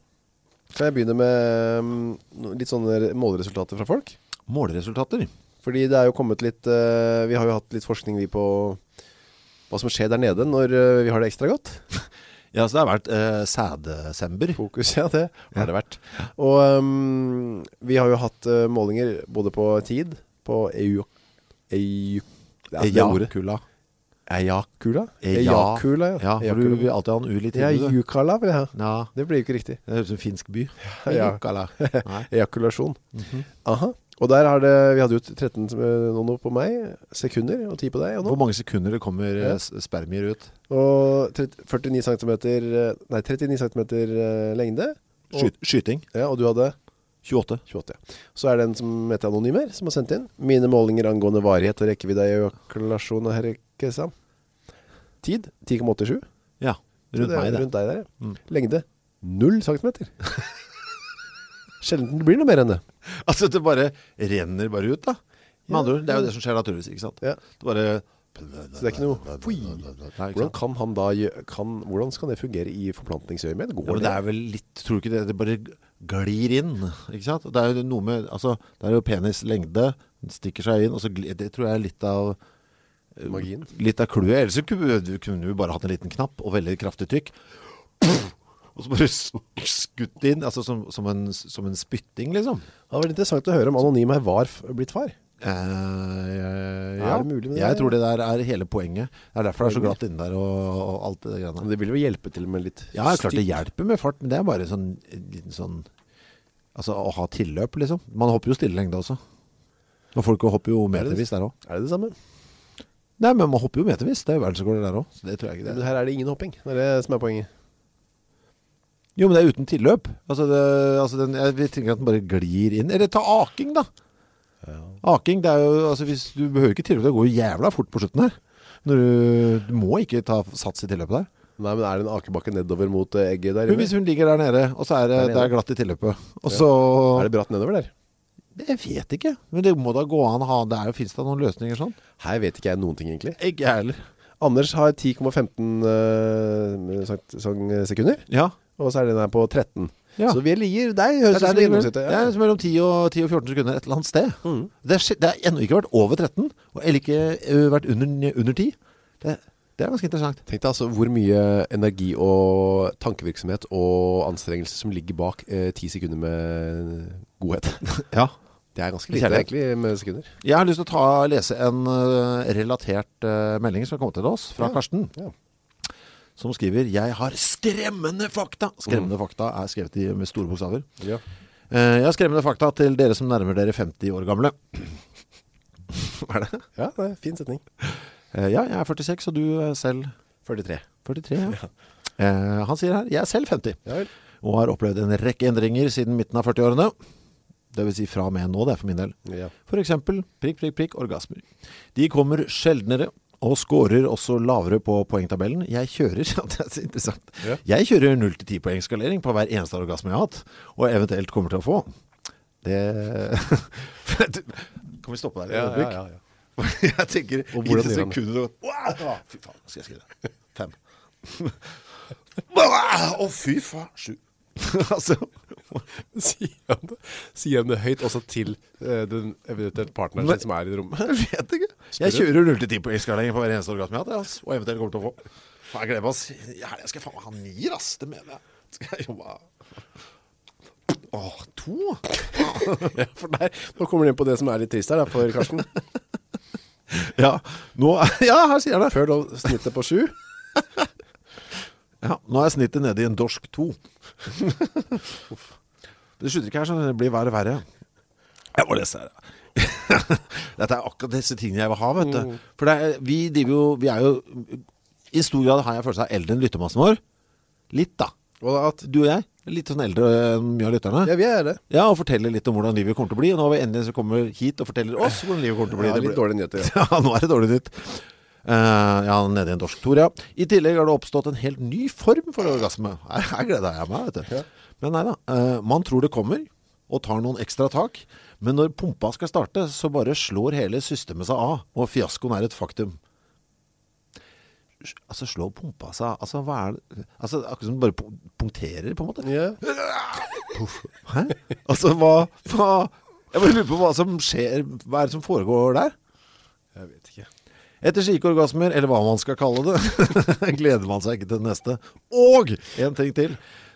Speaker 2: Kan jeg begynne med mm, no- litt sånne målresultater fra folk?
Speaker 1: Måleresultater.
Speaker 2: Fordi det er jo kommet litt eh, Vi har jo hatt litt forskning vi på hva som skjer der nede når eh, vi har det ekstra godt.
Speaker 1: Ja, så det har vært eh, sædesember.
Speaker 2: Fokus, ja, det har det vært. Og mm, vi har jo hatt eh, målinger både på tid, på E EU... EU det
Speaker 1: Eh, E
Speaker 2: er altså det ordet. E
Speaker 1: Ejakula.
Speaker 2: Ejakula?
Speaker 1: E Eja-
Speaker 2: Ejakula,
Speaker 1: Ja, for du vil alltid ha en u litt i det.
Speaker 2: Ejakula vil jeg ha.
Speaker 1: Ja,
Speaker 2: Det blir jo ikke riktig.
Speaker 1: det høres ut som en finsk by.
Speaker 2: Ja.
Speaker 1: Ejakula. Nei.
Speaker 2: Ejakulasjon Aha. Og der har det, vi hadde jo 13 som, eh, nono på meg Sekunder og 10 på deg
Speaker 1: Hvor
Speaker 2: Jono.
Speaker 1: mange sekunder det kommer eh, s- spermier ut?
Speaker 2: Og tre- 49 centimeter eh, Nei, 39 centimeter eh, lengde og,
Speaker 1: Skyt, skyting.
Speaker 2: ja, og du hadde
Speaker 1: 28.
Speaker 2: 28 ja. Så er det en som heter Anonymer Som har sendt inn Mine målinger angående varighet og rekkevidde av Ejakulasjon og herrekesa Tid 10,87
Speaker 1: Ja,
Speaker 2: Så
Speaker 1: rundt
Speaker 2: det er
Speaker 1: meg det.
Speaker 2: Rundt deg der ja.
Speaker 1: Mm.
Speaker 2: Lengde 0 centimeter Sjelden det blir noe mer enn det
Speaker 1: Altså det bare renner bare ut da Med
Speaker 2: Ja.
Speaker 1: andre ord, det er jo det som skjer naturligvis, ikke sant?
Speaker 2: Ja.
Speaker 1: Det bare Så
Speaker 2: det er ikke noe- Fui. Hvordan kan han da gjø- kan, Hvordan skal det fungere i forplantningsøyemed?
Speaker 1: Ja,
Speaker 2: Går
Speaker 1: men det er vel litt, tror du ikke det, det bare glir inn, ikke sant? Det er jo noe med, altså, det er jo penis lengde, den stikker seg inn, og så glir, det tror jeg er litt av, eh,
Speaker 2: det magien?
Speaker 1: litt av kluet, ellers så kunne du kunne jo bare hatt en liten knapp, og veldig kraftig trykk, og så bare s- skutt inn, altså som, som, en, som en spytting, liksom.
Speaker 2: Det hadde vært interessant å høre om anonym her var f- blitt far.
Speaker 1: Eh, jeg- ja,
Speaker 2: Eh, Er det mulig med det?
Speaker 1: jeg tror det der er hele poenget Det er derfor det er så glatt inne der og, og alt det greiene
Speaker 2: Men Det ville jo hjelpe til med litt
Speaker 1: Ja, klart det hjelper med fart, men det er bare sånn, en liten sånn Altså, å ha tilløp, liksom. Man hopper jo stille lengde også. Og folk hopper jo metervis der også.
Speaker 2: Er det det samme?
Speaker 1: Nei, men man hopper jo metervis. Det er jo verdensrekord der også. Så det tror jeg ikke
Speaker 2: Men
Speaker 1: det er.
Speaker 2: her er det ingen hopping Det er det som er poenget
Speaker 1: Jo, men det er uten tilløp. Altså, det, altså den, jeg vil tenke at den bare glir inn. Eller ta aking, da. Aking, det er jo Altså, hvis du behøver ikke tilløp, det går jo jævla fort på slutten her. Når du, du må ikke ta sats i tilløpet der.
Speaker 2: Nei, men er det en akebakke nedover mot eh, egget der?
Speaker 1: Men
Speaker 2: inne?
Speaker 1: hvis hun ligger der nede, og så er det,
Speaker 2: Der nede.
Speaker 1: det er glatt i tilløpet, og så
Speaker 2: Er det bratt nedover der?
Speaker 1: Jeg vet ikke, men det må da gå an å ha Det er jo, finnes det noen løsninger sånn?
Speaker 2: Her vet ikke jeg noen ting egentlig
Speaker 1: Ikke jeg heller
Speaker 2: Anders har 10,15 eh, sagt- sang- sekunder
Speaker 1: Ja,
Speaker 2: Og så er den her på 13
Speaker 1: Ja.
Speaker 2: Så vi ligger der høres ut
Speaker 1: det er,
Speaker 2: som
Speaker 1: det,
Speaker 2: vi
Speaker 1: det
Speaker 2: gjennomsnittet ja.
Speaker 1: er liksom mellom 10 og, 10 og 14 sekunder et eller annet sted Det har skje- det har enda ikke vært over 13 og Eller ikke ø, vært under, under 10 det, det er ganske interessant
Speaker 2: Tenk deg altså hvor mye energi og tankevirksomhet og anstrengelse som ligger bak eh, 10 sekunder med godhet
Speaker 1: Ja
Speaker 2: Det er ganske
Speaker 1: Med
Speaker 2: lite
Speaker 1: kjærlighet.
Speaker 2: egentlig med sekunder
Speaker 1: Jeg har lyst til å ta, lese en ø, relatert ø, melding som har kommet til oss fra
Speaker 2: Ja.
Speaker 1: Karsten
Speaker 2: Ja.
Speaker 1: Som skriver Jeg har skremmende fakta Skremmende fakta er skrevet i, med store bokstaver Eh, Jeg har skremmende fakta til dere som nærmer dere 50 år gamle Hva er det?
Speaker 2: Ja, det er en fin setning
Speaker 1: Eh, Ja, jeg er 46, og du er selv
Speaker 2: 43
Speaker 1: 43, ja. Eh, han sier her, jeg er selv 50,
Speaker 2: Ja vel
Speaker 1: og har opplevd en rekke endringer siden midten av 40-årene. Det vil si fra og med nå, det er for min del.
Speaker 2: Ja.
Speaker 1: For eksempel, prikk, prikk, prikk, orgasmer. De kommer sjeldnere, og skårer også lavere på poengtabellen. Jeg kjører, ja, det er så interessant.
Speaker 2: Ja.
Speaker 1: Jeg kjører 0-10 poeng skalering på hver eneste orgasme jeg har hatt, og eventuelt kommer til å få. Det... kan vi stoppe der? et
Speaker 2: Ja, ja,
Speaker 1: øyeblikk?
Speaker 2: ja, ja.
Speaker 1: Jeg tenker
Speaker 2: Og
Speaker 1: i
Speaker 2: hvordan
Speaker 1: det
Speaker 2: gjør han det?
Speaker 1: sekundet du- Wow! Fy faen, nå skal jeg skrive Fem Wow! Å fy faen, sju Altså
Speaker 2: Sier han det, sier han det høyt også til eh, den eventuelt partneren
Speaker 1: Nei.
Speaker 2: sin som er i rommet?
Speaker 1: Jeg vet ikke Jeg kjører 0-10 på iskalengden på hver eneste orgasme jeg har hatt ass. Og eventuelt kommer til å få Faen, jeg gleder meg ass I helgen skal jeg faen meg ha nier ass Det mener jeg Skal jeg jobbe Åh, to
Speaker 2: Ja, for der, nå kommer du inn på det som er litt trist her da, for Karsten.
Speaker 1: Ja, nå Ja, her sier han det
Speaker 2: Før lå snittet på sju.
Speaker 1: Ja, nå er snittet nede i en dorsk 2 Det slutter ikke her, så det blir verre og verre Jeg må lese her ja. Dette er akkurat disse tingene jeg vil ha, vet du For det er, vi, driver jo, vi er jo I stor grad har jeg følelse av eldre enn lyttermassen vår Litt da
Speaker 2: Og da at,
Speaker 1: Du og jeg, litt sånn eldre enn mye av lytterne
Speaker 2: ja, vi er det.
Speaker 1: ja, og fortelle litt om hvordan livet kommer til å bli Og nå har vi endelig som kommer hit og forteller oss Hvordan livet kommer til å bli
Speaker 2: Ja,
Speaker 1: Det
Speaker 2: litt
Speaker 1: blir-
Speaker 2: dårlige nyheter, ja.
Speaker 1: ja, nå er det dårlig nytt Eh, Ja, nede i en dorsk tor, ja I tillegg har det oppstått en helt ny form for orgasme Her, her gleder jeg meg, vet du Men nei da, eh, man tror det kommer Og tar noen ekstra tak Men når pumpa skal starte Så bare slår hele systemet seg av Og fiaskoen er et faktum Altså, slår pumpa seg av Altså, hva er det? Altså, akkurat som den bare pu- punkterer på en måte
Speaker 2: Ja.
Speaker 1: Hæ? Altså, hva, hva Jeg bare lurer på hva som skjer Hva er det som foregår der?
Speaker 2: Jeg vet ikke.
Speaker 1: Etter slike orgasmer, eller hva man skal kalle det Gleder man seg ikke til det neste Og, en ting til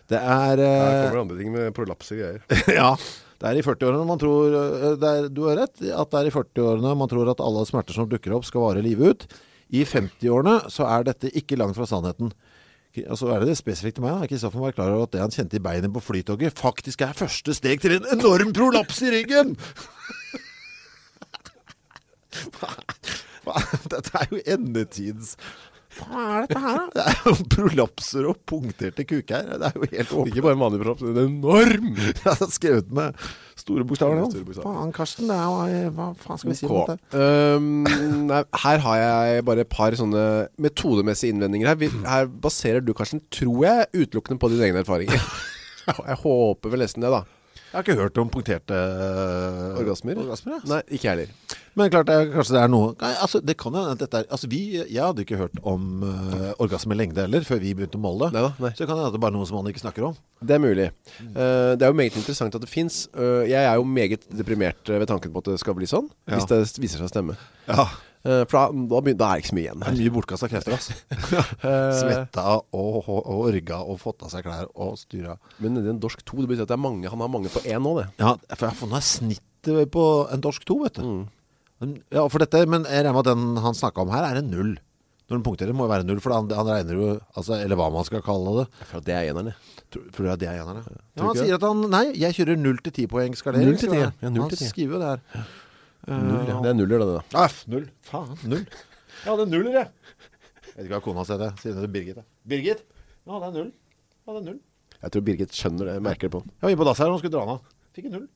Speaker 1: Det er
Speaker 2: Her
Speaker 1: eh,
Speaker 2: kommer andre ting med prolapser og greier.
Speaker 1: Ja, det er i 40-årene man tror eh, det er, Du har rett i at det er i 40-årene Man tror at alle smerter som dukker opp skal vare livet ut I 50-årene så er dette ikke langt fra sannheten og så er det det spesifikt til meg da Kristoffer var klar over at det han kjente i beinet på flytoget Faktisk er første steg til en enorm prolaps i ryggen Hva? Dette er jo endetids Hva er dette her da? Det er jo prolapser og punkterte kuk her Det er jo helt
Speaker 2: Ikke bare vanlig prolaps, det er enorm.
Speaker 1: jeg har skrevet med store bokstaver nå.
Speaker 2: Store bokstaver.
Speaker 1: Faen, Karsten, det er jo eh, Hva faen skal vi si om
Speaker 2: Ok.
Speaker 1: dette?
Speaker 2: Um, nei, her har jeg bare et par sånne metodemessige innvendinger her. Vi, her baserer du, Karsten, tror jeg, utelukkende på dine egne erfaringer. Jeg håper vel nesten det da.
Speaker 1: Jeg har ikke hørt om punkterte øh,
Speaker 2: eh, Orgasmer?
Speaker 1: orgasmer ja.
Speaker 2: Nei, ikke jeg heller
Speaker 1: Men klart, det er, kanskje det er noe Nei, altså, det kan jo hende at dette er Altså, vi, jeg hadde ikke hørt om eh, orgasme med lengde heller Før vi begynte å måle det
Speaker 2: Neida, nei.
Speaker 1: Så det kan hende at det bare er noe som man ikke snakker om
Speaker 2: Det er mulig Eh, Det er jo meget interessant at det finnes Eh, Jeg er jo meget deprimert eh, ved tanken på at det skal bli sånn
Speaker 1: Ja.
Speaker 2: Hvis det viser seg å stemme
Speaker 1: Ja,
Speaker 2: Eh, For da, da, begyn- da er det ikke så mye igjen
Speaker 1: det
Speaker 2: her
Speaker 1: er mye bortkastet krefter, ass Svetta og, og, og orga og fått av seg klær og styra
Speaker 2: Men den dorsk 2, det betyr at det er mange Han har mange på en nå det
Speaker 1: Ja, for jeg har funnet snittet på en dorsk 2, vet du
Speaker 2: Mm.
Speaker 1: Men- Ja, for dette, men jeg regner med at den han snakket om her er en null Når den punkterer må det være null For han, han regner jo, altså, eller hva man skal kalle det
Speaker 2: For det er eneren det
Speaker 1: Tror tror du at det er enerne? Ja,
Speaker 2: Tror
Speaker 1: han
Speaker 2: du ikke
Speaker 1: sier at han, nei, jeg kjører 0-10 poeng skal det-
Speaker 2: 0 til
Speaker 1: skal
Speaker 2: 10,
Speaker 1: det-
Speaker 2: ja, 0
Speaker 1: Han
Speaker 2: til 10.
Speaker 1: skriver jo det her Eh,
Speaker 2: Null, ja. Det er nuller det da
Speaker 1: Aff, null, faen, null Ja, det er nuller, jeg Jeg vet ikke hva kona sier det, sier det til Birgit da. Birgit, ja det er null Ja, det er null
Speaker 2: Jeg tror Birgit skjønner det, jeg merker det på den
Speaker 1: Jeg var inne på dass her, hun skulle dra den av Fikk en null,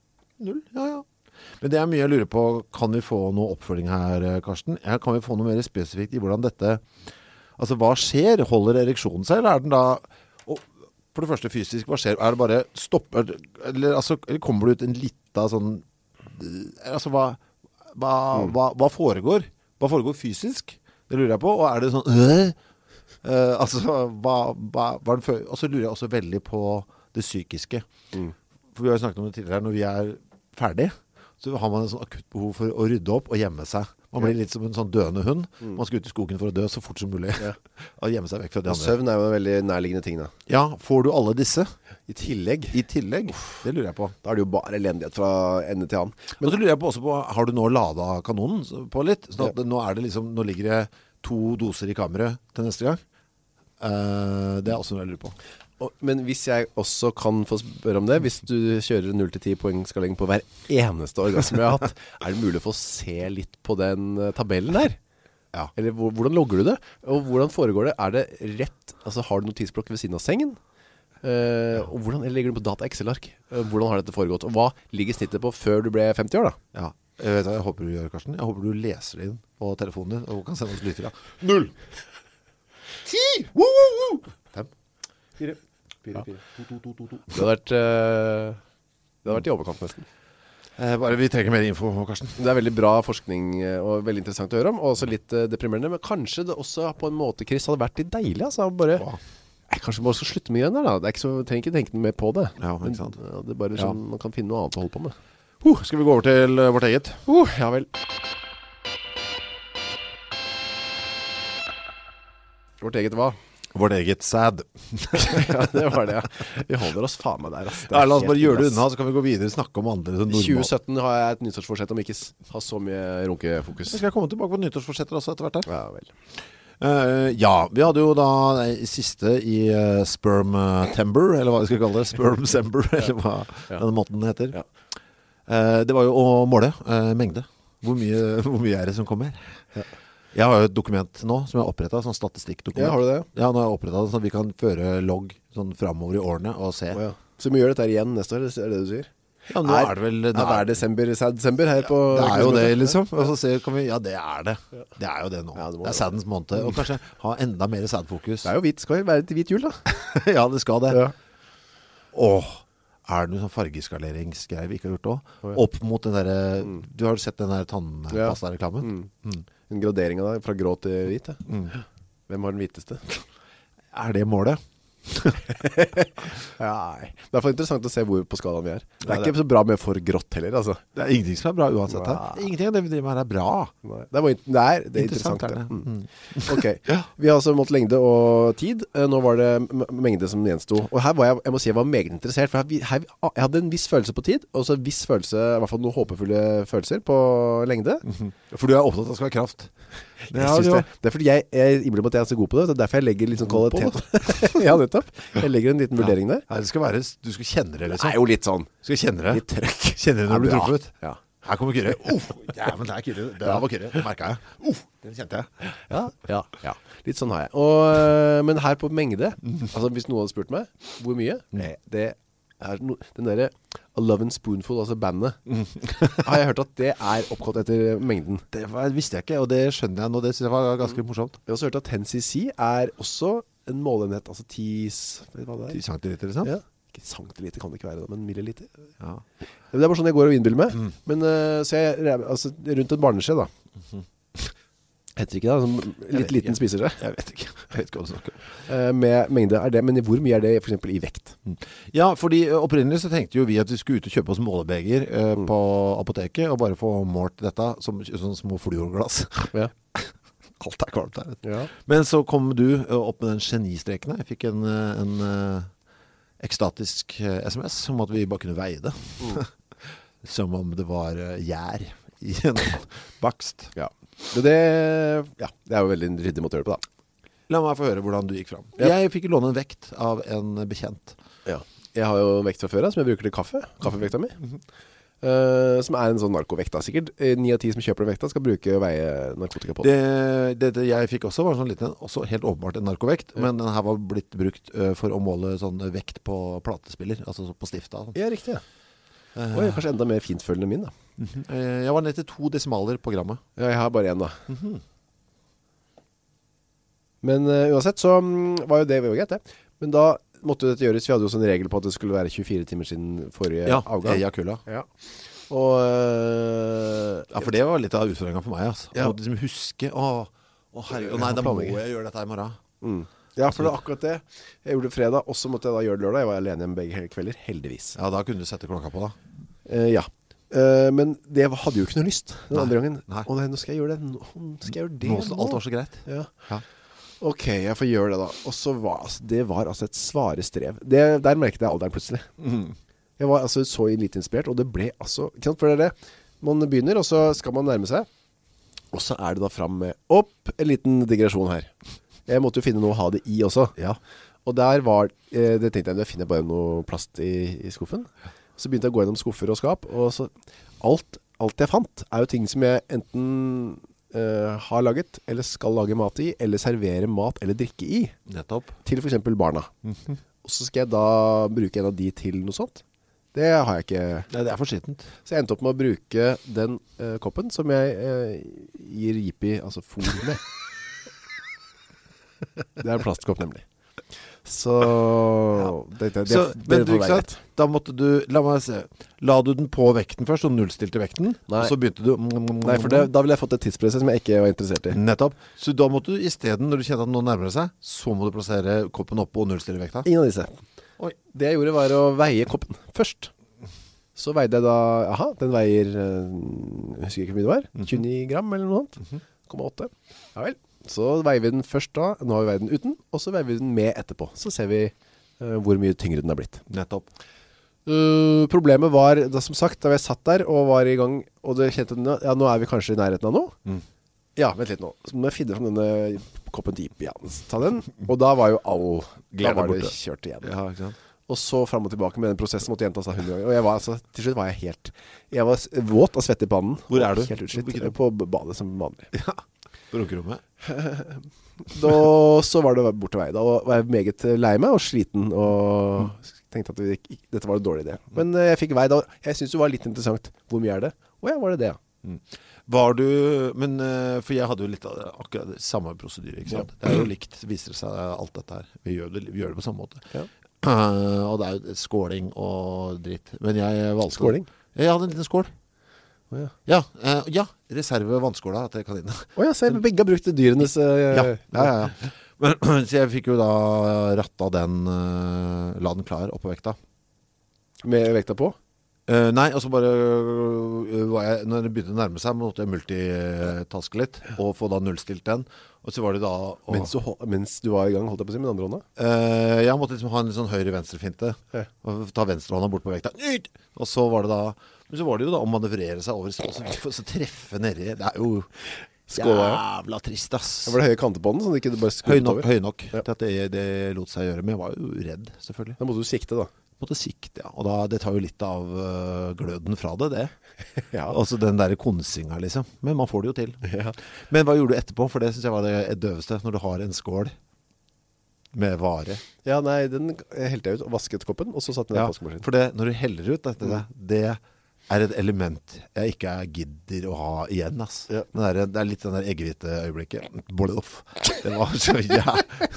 Speaker 1: null, ja, ja Men det er mye jeg lurer på, kan vi få noe oppfølging her, eh, Karsten? Ja, Kan vi få noe mer spesifikt i hvordan dette Altså, hva skjer? Holder ereksjonen seg, eller er den da og For det første fysisk, hva skjer? Er det bare stopp er det- Eller, altså, eller kommer det ut en lita sånn eh, Altså, hva hva, hva, hva foregår? Hva foregår fysisk? Det lurer jeg på Og er det sånn øh? Eh, Altså, hva, hva, hva er den fø- Og så lurer jeg også veldig på det psykiske For vi har jo snakket om det tidligere her, Når vi er ferdige Så har man en sånn akutt behov for å rydde opp og gjemme seg man blir litt som en sånn døende hund Man skal ut i skogen for å dø så fort som mulig Og gjemme seg vekk fra de andre
Speaker 2: Søvn er jo en veldig nærliggende ting da
Speaker 1: ja, får du alle disse
Speaker 2: I tillegg
Speaker 1: i tillegg? Det lurer jeg på.
Speaker 2: Da er det jo bare elendighet fra ende til annen
Speaker 1: Men så lurer jeg på også på, har du nå lada kanonen så- på litt? Sånn at nå, er det liksom, nå ligger det to doser i kammeret til neste gang. Eh, det er også noe jeg lurer på.
Speaker 2: Og- Men hvis jeg også kan få spørre om det Hvis du kjører 0-10 poengskalling på hver eneste orgasme jeg har hatt Er det mulig å få se litt på den eh, tabellen der?
Speaker 1: Ja.
Speaker 2: Eller hvor- hvordan logger du det? Og hvordan foregår det? Er det rett, altså har du notisblokk ved siden av sengen? Eh, og hvordan eller legger du på data Excel-ark? Eh, hvordan har dette foregått? Og hva ligger snittet på før du ble 50 år da?
Speaker 1: Ja. Jeg vet hva jeg håper du gjør, Karsten. Jeg håper du leser det inn på telefonen din og kan sende oss lydfila. Null! Ti! Woo, woo, woo! Fem. Fire. Fire, fire. To, to, to, to, to.
Speaker 2: Det hadde vært, eh, det hadde vært i overkant nesten
Speaker 1: Eh, bare vi trenger mer info, Karsten.
Speaker 2: Det er veldig bra forskning eh, og veldig interessant å høre om, og også litt eh, deprimerende, men kanskje det også på en måte, Chris, hadde vært litt deilig, altså, å bare...
Speaker 1: Wow.
Speaker 2: Nei, Kanskje vi bare skal slutte med greiene der da Det er ikke så, trenger ikke tenke mer på det
Speaker 1: Ja, ikke sant.
Speaker 2: Men, ja, Det er bare
Speaker 1: Ja.
Speaker 2: sånn, man kan finne noe annet å holde på med
Speaker 1: Huh, skal vi gå over til eh, vårt eget?
Speaker 2: uh, Ja vel Vårt eget hva?
Speaker 1: Vårt eget sad.
Speaker 2: ja, det var det, ja Vi holder oss faen meg der, ass Det er
Speaker 1: Ja, la oss
Speaker 2: helt
Speaker 1: bare gjøre det
Speaker 2: ass.
Speaker 1: unna, så kan vi gå videre og snakke om andre sånn
Speaker 2: I
Speaker 1: normalt.
Speaker 2: 2017 har jeg et nyttårsforsett om ikke s- ha så mye runkefokus
Speaker 1: Så skal jeg komme tilbake på nyttårsforsetter også etter hvert her.
Speaker 2: Ja vel
Speaker 1: Eh, ja, vi hadde jo da det siste i eh, Spermtember, eller hva vi skal kalle det, Spermsember, eller hva
Speaker 2: Ja.
Speaker 1: denne måten heter.
Speaker 2: Ja.
Speaker 1: Eh, det var jo å måle eh, mengde. Hvor mye, hvor mye er det som kommer? Jeg har jo et dokument nå som jeg har opprettet, sånn statistikkdokument.
Speaker 2: Ja, har du det?
Speaker 1: Ja, nå har jeg opprettet det, sånn at vi kan føre logg sånn fremover i årene og se.
Speaker 2: Å ja. Så vi gjør dette her igjen neste år, er det det du sier?
Speaker 1: Ja, nå er det vel...
Speaker 2: Er, det desember, sad desember her på
Speaker 1: Det er jo det liksom Og så ser- kan vi, Ja det er det Det er jo det nå
Speaker 2: Ja, det må
Speaker 1: Det er
Speaker 2: det.
Speaker 1: saddens måned Og kanskje ha enda mer sadfokus
Speaker 2: Det er jo hvit, skal jo være til hvit jul da
Speaker 1: Ja det skal det
Speaker 2: Ja.
Speaker 1: Åh Er det noen sånn fargeskaleringsgreier vi ikke har gjort også Opp mot den der
Speaker 2: Mm.
Speaker 1: Du har jo sett den der tannpasta-reklamen Mm.
Speaker 2: Den graderingen da, fra grå til hvit ja. Hvem har den hviteste?
Speaker 1: Er det målet?
Speaker 2: Nei Det er for interessant å se hvor på skalaen vi er Det er
Speaker 1: Ja, det-
Speaker 2: ikke så bra med for grått heller altså.
Speaker 1: Det er ingenting som er bra uansett her
Speaker 2: Nei.
Speaker 1: Ingenting av det vi driver med her er bra
Speaker 2: Nei, Det er, bare, det er, det er interessant,
Speaker 1: Interessant er det.
Speaker 2: det. Mm. Ok, vi har altså mått lengde og tid Eh, Nå var det m- mengde som gjenstod Og her var jeg, jeg må si jeg var meget interessert For her, vi- her, jeg hadde en viss følelse på tid Og så en viss følelse, i hvert fall noen håpefulle følelser På lengde
Speaker 1: For du er opptatt av at det skal være kraft
Speaker 2: Jeg synes det. det er fordi jeg, jeg innbiller meg at jeg er så god på det Det er derfor jeg legger litt sånn
Speaker 1: God på
Speaker 2: kvalitet Ja, nettopp Jeg legger en liten vurdering der
Speaker 1: Nei, det skal være Du skal kjenne det
Speaker 2: Det
Speaker 1: liksom
Speaker 2: er jo litt sånn
Speaker 1: Du skal kjenne det
Speaker 2: Litt trøkk
Speaker 1: Kjenne det når du blir
Speaker 2: Ja, bra.
Speaker 1: truffet
Speaker 2: Ja,
Speaker 1: Her kommer kyrre Uff, jævlen, det er kyrre Det der var kyrre, det merket jeg Uff, den kjente jeg
Speaker 2: ja, ja, ja. Litt sånn har jeg og, eh, Men her på mengde Altså hvis noen hadde spurt meg Hvor mye? Nei, det er no, den der A Love and Spoonful, altså bandet Har jeg hørt at det er oppkalt etter mengden
Speaker 1: Det var, visste jeg ikke, og det skjønner jeg nå Det synes jeg var
Speaker 2: Mm.
Speaker 1: ganske morsomt
Speaker 2: Jeg har også hørt at 10cc er også en målenhet Altså 10 Hva er det?
Speaker 1: 10 cm, ikke sant?
Speaker 2: Ja. Ikke centiliter kan det ikke være da, men milliliter Ja,
Speaker 1: Ja.
Speaker 2: men Det er bare sånn jeg går og innbiller meg Men eh, så jeg, re- altså, rundt et barneskje da Heter det Mhm. ikke da, sånn,
Speaker 1: vet
Speaker 2: litt liten
Speaker 1: ikke.
Speaker 2: spiser det
Speaker 1: Jeg vet ikke, jeg vet ikke hva du snakker om.
Speaker 2: Med mengde er det, men i hvor mye er det for eksempel i vekt?
Speaker 1: Ja, fordi eh, opprinnelig så tenkte jo vi at vi skulle ut og kjøpe oss målebeger eh, på apoteket, og bare få målt dette som sånne små fluorglass.
Speaker 2: Ja,
Speaker 1: Alt er kvalmt her. vet du.
Speaker 2: ja.
Speaker 1: Men så kom du eh, opp med den genistreken her. Jeg fikk en, eh, en eh, ekstatisk eh, sms om at vi bare kunne veie det. som om det var eh, gjær i en bakst.
Speaker 2: Ja. Det, det, ja, det er jo veldig ryddig måte å gjøre det på da
Speaker 1: La meg få høre hvordan du gikk fram.
Speaker 2: Ja.
Speaker 1: Jeg fikk låne en vekt av en bekjent.
Speaker 2: Jeg har jo en vekt fra før da, som jeg bruker til kaffe Kaffevekta mi Eh, Som er en sånn narkovekt da, sikkert 9 av 10 som kjøper den vekta skal bruke og veie narkotika på den
Speaker 1: Det, det, det jeg fikk også var sånn liten, også helt åpenbart en narkovekt, men den her var blitt brukt ø, for å måle sånn vekt på platespiller, altså så på stifta. og sånn.
Speaker 2: Ja, riktig ja. Oi, kanskje enda mer fintfølende enn min da
Speaker 1: Eh, Jeg var ned til to desimaler på grammet.
Speaker 2: Ja, jeg har bare en da
Speaker 1: Mhm.
Speaker 2: Men eh, uansett så mm, var jo det var jo greit det Men da måtte jo dette gjøres Vi hadde jo sånn regel på at det skulle være 24 timer siden forrige avgang
Speaker 1: eh, Jakula.
Speaker 2: Ja. Og eh,
Speaker 1: Ja, for det var litt av utfordringen for meg, altså.
Speaker 2: Ja.
Speaker 1: Å liksom huske, å, å herregud, å nei, da må
Speaker 2: Planlegging.
Speaker 1: jeg gjøre dette i morgen.
Speaker 2: mm. Ja, for det var akkurat det Jeg gjorde det fredag, og så måtte jeg da gjøre det lørdag Jeg var alene hjemme begge hel- kvelder, heldigvis
Speaker 1: Ja, da kunne du sette klokka på da.
Speaker 2: Eh, Ja Eh, men det var- hadde jo ikke noe lyst Den
Speaker 1: Nei.
Speaker 2: andre gangen
Speaker 1: Nei.
Speaker 2: Å nei, nå skal jeg gjøre det Nå skal jeg gjøre det
Speaker 1: Nå som alt var så greit.
Speaker 2: Ja.
Speaker 1: Ja.
Speaker 2: Ok, jeg får gjøre det da Og så var altså, det var altså et svare strev det, Der merket jeg alderen plutselig Jeg var altså så litt inspirert Og det ble altså, ikke sant, for det er det Man begynner, og så skal man nærme seg Og så er det da frem med opp En liten digresjon her Jeg måtte jo finne noe å ha det i også
Speaker 1: Ja.
Speaker 2: Og der var, eh, det tenkte jeg Det finner jeg bare noe plast i, i skuffen Så begynte jeg å gå gjennom skuffer og skap Og så, alt, alt jeg fant Er jo ting som jeg enten eh, Har laget, eller skal lage mat i Eller servere mat eller drikke i
Speaker 1: Nettopp.
Speaker 2: til for eksempel barna
Speaker 1: Mhm.
Speaker 2: Og så skal jeg da bruke en av de til noe sånt Det har jeg ikke
Speaker 1: Nei, det er for skittent.
Speaker 2: Så jeg endte opp med å bruke den eh, koppen Som jeg eh, gir Jippie, altså fôr med Det er en plastkopp nemlig Så det, det, det,
Speaker 1: Så,
Speaker 2: det
Speaker 1: men
Speaker 2: får
Speaker 1: du,
Speaker 2: være
Speaker 1: ikke sant,
Speaker 2: greit.
Speaker 1: da måtte du, la meg se, la du den på vekten først, og nullstilte vekten,
Speaker 2: Nei.
Speaker 1: og så begynte du...
Speaker 2: Nei, for det, da ville jeg fått et tidspress som jeg ikke var interessert i
Speaker 1: Nettopp. Så da måtte du i stedet, når du kjente at noen nærmer seg, så må du plassere koppen oppe og nullstille vekta.
Speaker 2: Ingen av disse
Speaker 1: Oi.
Speaker 2: Det jeg gjorde var å veie koppen først Så veide jeg da Aha, den veier eh, Jeg husker ikke hvor mye det var
Speaker 1: Mhm.
Speaker 2: 29 gram eller noe annet 0,8 Ja vel Så veier vi den først da Nå har vi veid den uten Og så veier vi den med etterpå Så ser vi eh, hvor mye tyngre den har blitt
Speaker 1: Nettopp.
Speaker 2: Eh, Problemet var da som sagt Da jeg satt der og var i gang Og det kjente den Ja, nå er vi kanskje i nærheten av noe
Speaker 1: Mm.
Speaker 2: Ja, vent litt nå Så må jeg finne frem denne koppen til Ipi Ja, ta den Og da var jo all
Speaker 1: Glede
Speaker 2: Da var det
Speaker 1: borte.
Speaker 2: kjørt igjen
Speaker 1: Ja, ikke sant?
Speaker 2: og så frem og tilbake med den prosessen måtte gjentas da 100 ganger. Og jeg var, altså, til slutt var jeg helt Jeg var s- våt av svette i pannen.
Speaker 1: Hvor er
Speaker 2: og
Speaker 1: du?
Speaker 2: Helt utslitt.
Speaker 1: Hvilket rom?
Speaker 2: På b- badet som vanlig.
Speaker 1: På runkerommet.
Speaker 2: Da, så var det bort til vei. Da var jeg meget eh, lei meg og sliten og tenkte at det, gikk- dette var en dårlig idé. Men eh, jeg fikk vei da. Jeg syntes det var litt interessant. Hvor mye er det? Å ja, var det det, ja.
Speaker 1: Mm. Var du, men, eh, for jeg hadde jo litt av det- akkurat det samme prosedyr, ikke sant? Det er jo likt, viser det seg eh, alt dette her. Vi gjør det, vi gjør det på samme måte.
Speaker 2: Ja.
Speaker 1: Eh, og det er jo skåling og dritt. Men jeg valgte...
Speaker 2: Skåling?
Speaker 1: Jeg hadde en liten skål.
Speaker 2: Å ja.
Speaker 1: Ja, eh, ja reserve vannskåla til kaninene.
Speaker 2: Å ja, så jeg begge har brukt dyrenes eh,
Speaker 1: ja, ja, ja, ja. Men, så jeg fikk jo da ratta den, eh, la den klar oppå vekta.
Speaker 2: med vekta på.
Speaker 1: Eh, nei, og så bare øh, var jeg, Når det begynte å nærme seg Måtte jeg multitaske litt Og få da nullstilt den Og så var det da å,
Speaker 2: Mens du, hol- mens du var i gang, holdt jeg på å si, med den andre hånda.
Speaker 1: Eh, Jeg måtte liksom ha en sånn høyre-venstre-finte
Speaker 2: Ja.
Speaker 1: Og ta venstrehånda bort på vekta Nyt! Og så var det da Men så var det jo da å manøvrere seg over Og så, så, så treffe nedi Det er jo
Speaker 2: Skåla,
Speaker 1: jævla trist ass
Speaker 2: Det var det høye kanter på den, så det ikke bare
Speaker 1: Høy
Speaker 2: skuttet
Speaker 1: nok,
Speaker 2: over.
Speaker 1: høy nok
Speaker 2: Ja.
Speaker 1: til at det, det lot seg gjøre Men jeg var jo redd selvfølgelig
Speaker 2: Da måtte du sikte, da.
Speaker 1: Måtte sikte, ja Og da, det tar jo litt av øh, gløden fra det, det
Speaker 2: Ja.
Speaker 1: Altså den der konsinga liksom Men man får det jo til
Speaker 2: ja.
Speaker 1: Men hva gjorde du etterpå? For det synes jeg var det døveste Når du har en skål Med vare
Speaker 2: Ja, nei, den helte jeg ut og vasket koppen, og så satte den
Speaker 1: ja,
Speaker 2: i vaskemaskinen.
Speaker 1: For det, når du heller ut
Speaker 2: Mm.
Speaker 1: dette Det er et element Jeg ikke gidder å ha igjen ass.
Speaker 2: Ja.
Speaker 1: Den der, Det er litt den der eggehvite øyeblikket Bluff Det var så jæ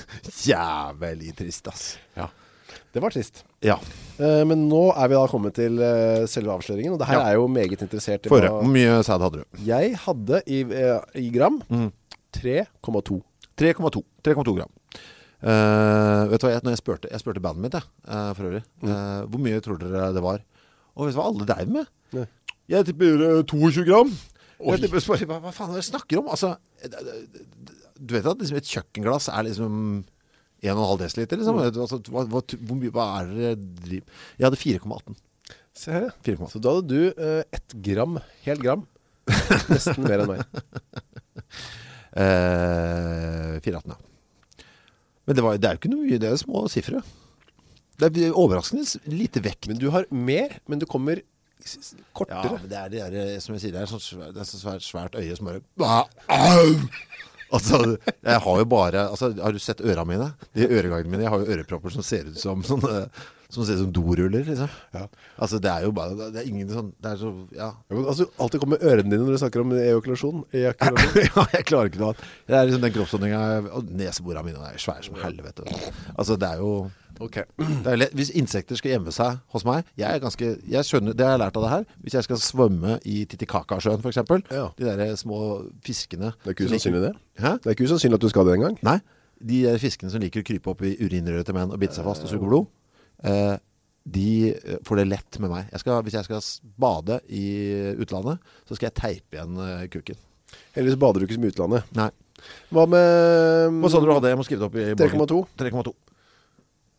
Speaker 1: jævlig trist ass
Speaker 2: Ja. Det var trist
Speaker 1: Ja,
Speaker 2: Eh, Men nå er vi da kommet til eh, selve avsløringen Og det her
Speaker 1: Ja. Mm.
Speaker 2: er jo meget interessert i
Speaker 1: forrige.
Speaker 2: hva-
Speaker 1: Hvor mye sæd hadde du?
Speaker 2: Jeg hadde i, eh, i gram
Speaker 1: Mm.
Speaker 2: 3,2
Speaker 1: 3,2 3,2 gram Eh, Vet du hva, jeg, når jeg spørte, jeg spurte bandet mitt jeg, eh, For øvrig eh, Hvor mye tror dere det var? Og vet du hva alle dreiv med?
Speaker 2: Nei.
Speaker 1: Jeg tipper eh, 22 gram
Speaker 2: Oi.
Speaker 1: Jeg tipper, spør, hva, hva faen er det jeg snakker om? Altså, eh, d- d- d- du vet at liksom, et kjøkkenglass er liksom 1,5 desiliter liksom. altså, hva, hva, hvor mye, hva er det dere driver? Jeg hadde 4,18
Speaker 2: Se her, ja
Speaker 1: 4,18.
Speaker 2: Så da hadde du eh, ett gram, helt gram Nesten mer enn meg
Speaker 1: Eh, 4,18 ja Men det, var, det er jo ikke noe mye Det er jo små siffre Det er overraskende lite vekt
Speaker 2: Men du har mer, men du kommer s- s-
Speaker 1: Ja,
Speaker 2: kortere
Speaker 1: men det er det der, som jeg sier, det er sånn svært, det er sånn svært, svært øye som bare Bah, au! Altså, jeg har jo bare altså, Har du sett øra mine? De øregangene mine, jeg har jo ørepropper som ser ut som sånne, Som ser ut som doruller, liksom
Speaker 2: Ja.
Speaker 1: Altså, det er jo bare Det er ingen sånn Det er så, ja
Speaker 2: Ja, men altså, alltid kommer ørene dine når du snakker om ejakulasjon Ejakulasjon
Speaker 1: ja, jeg klarer ikke noe annet Det er liksom den kroppsåndinga Og neseborene mine er svære som helvete Altså, det er jo
Speaker 2: Ok
Speaker 1: det er lett. Hvis insekter skal gjemme seg hos meg Jeg er ganske Jeg skjønner Det har jeg lært av det her Hvis jeg skal svømme i Titicacasjøen for eksempel
Speaker 2: Ja.
Speaker 1: De der små fiskene
Speaker 2: Det er ikke usannsynlig det
Speaker 1: Hæ?
Speaker 2: Det er ikke usannsynlig at du skal det en gang
Speaker 1: Nei De der fiskene som liker å krype opp i urinrøret til menn Og bite seg fast og suge blod eh, De eh, får det lett med meg jeg skal, Hvis jeg skal s- bade i utlandet Så skal jeg teipe igjen eh, kukken
Speaker 2: Ellers bader du ikke som i utlandet
Speaker 1: Nei
Speaker 2: Hva med
Speaker 1: Hva sa du du hadde? Jeg må skrive det opp i bloggen.
Speaker 2: 3,2
Speaker 1: 3,2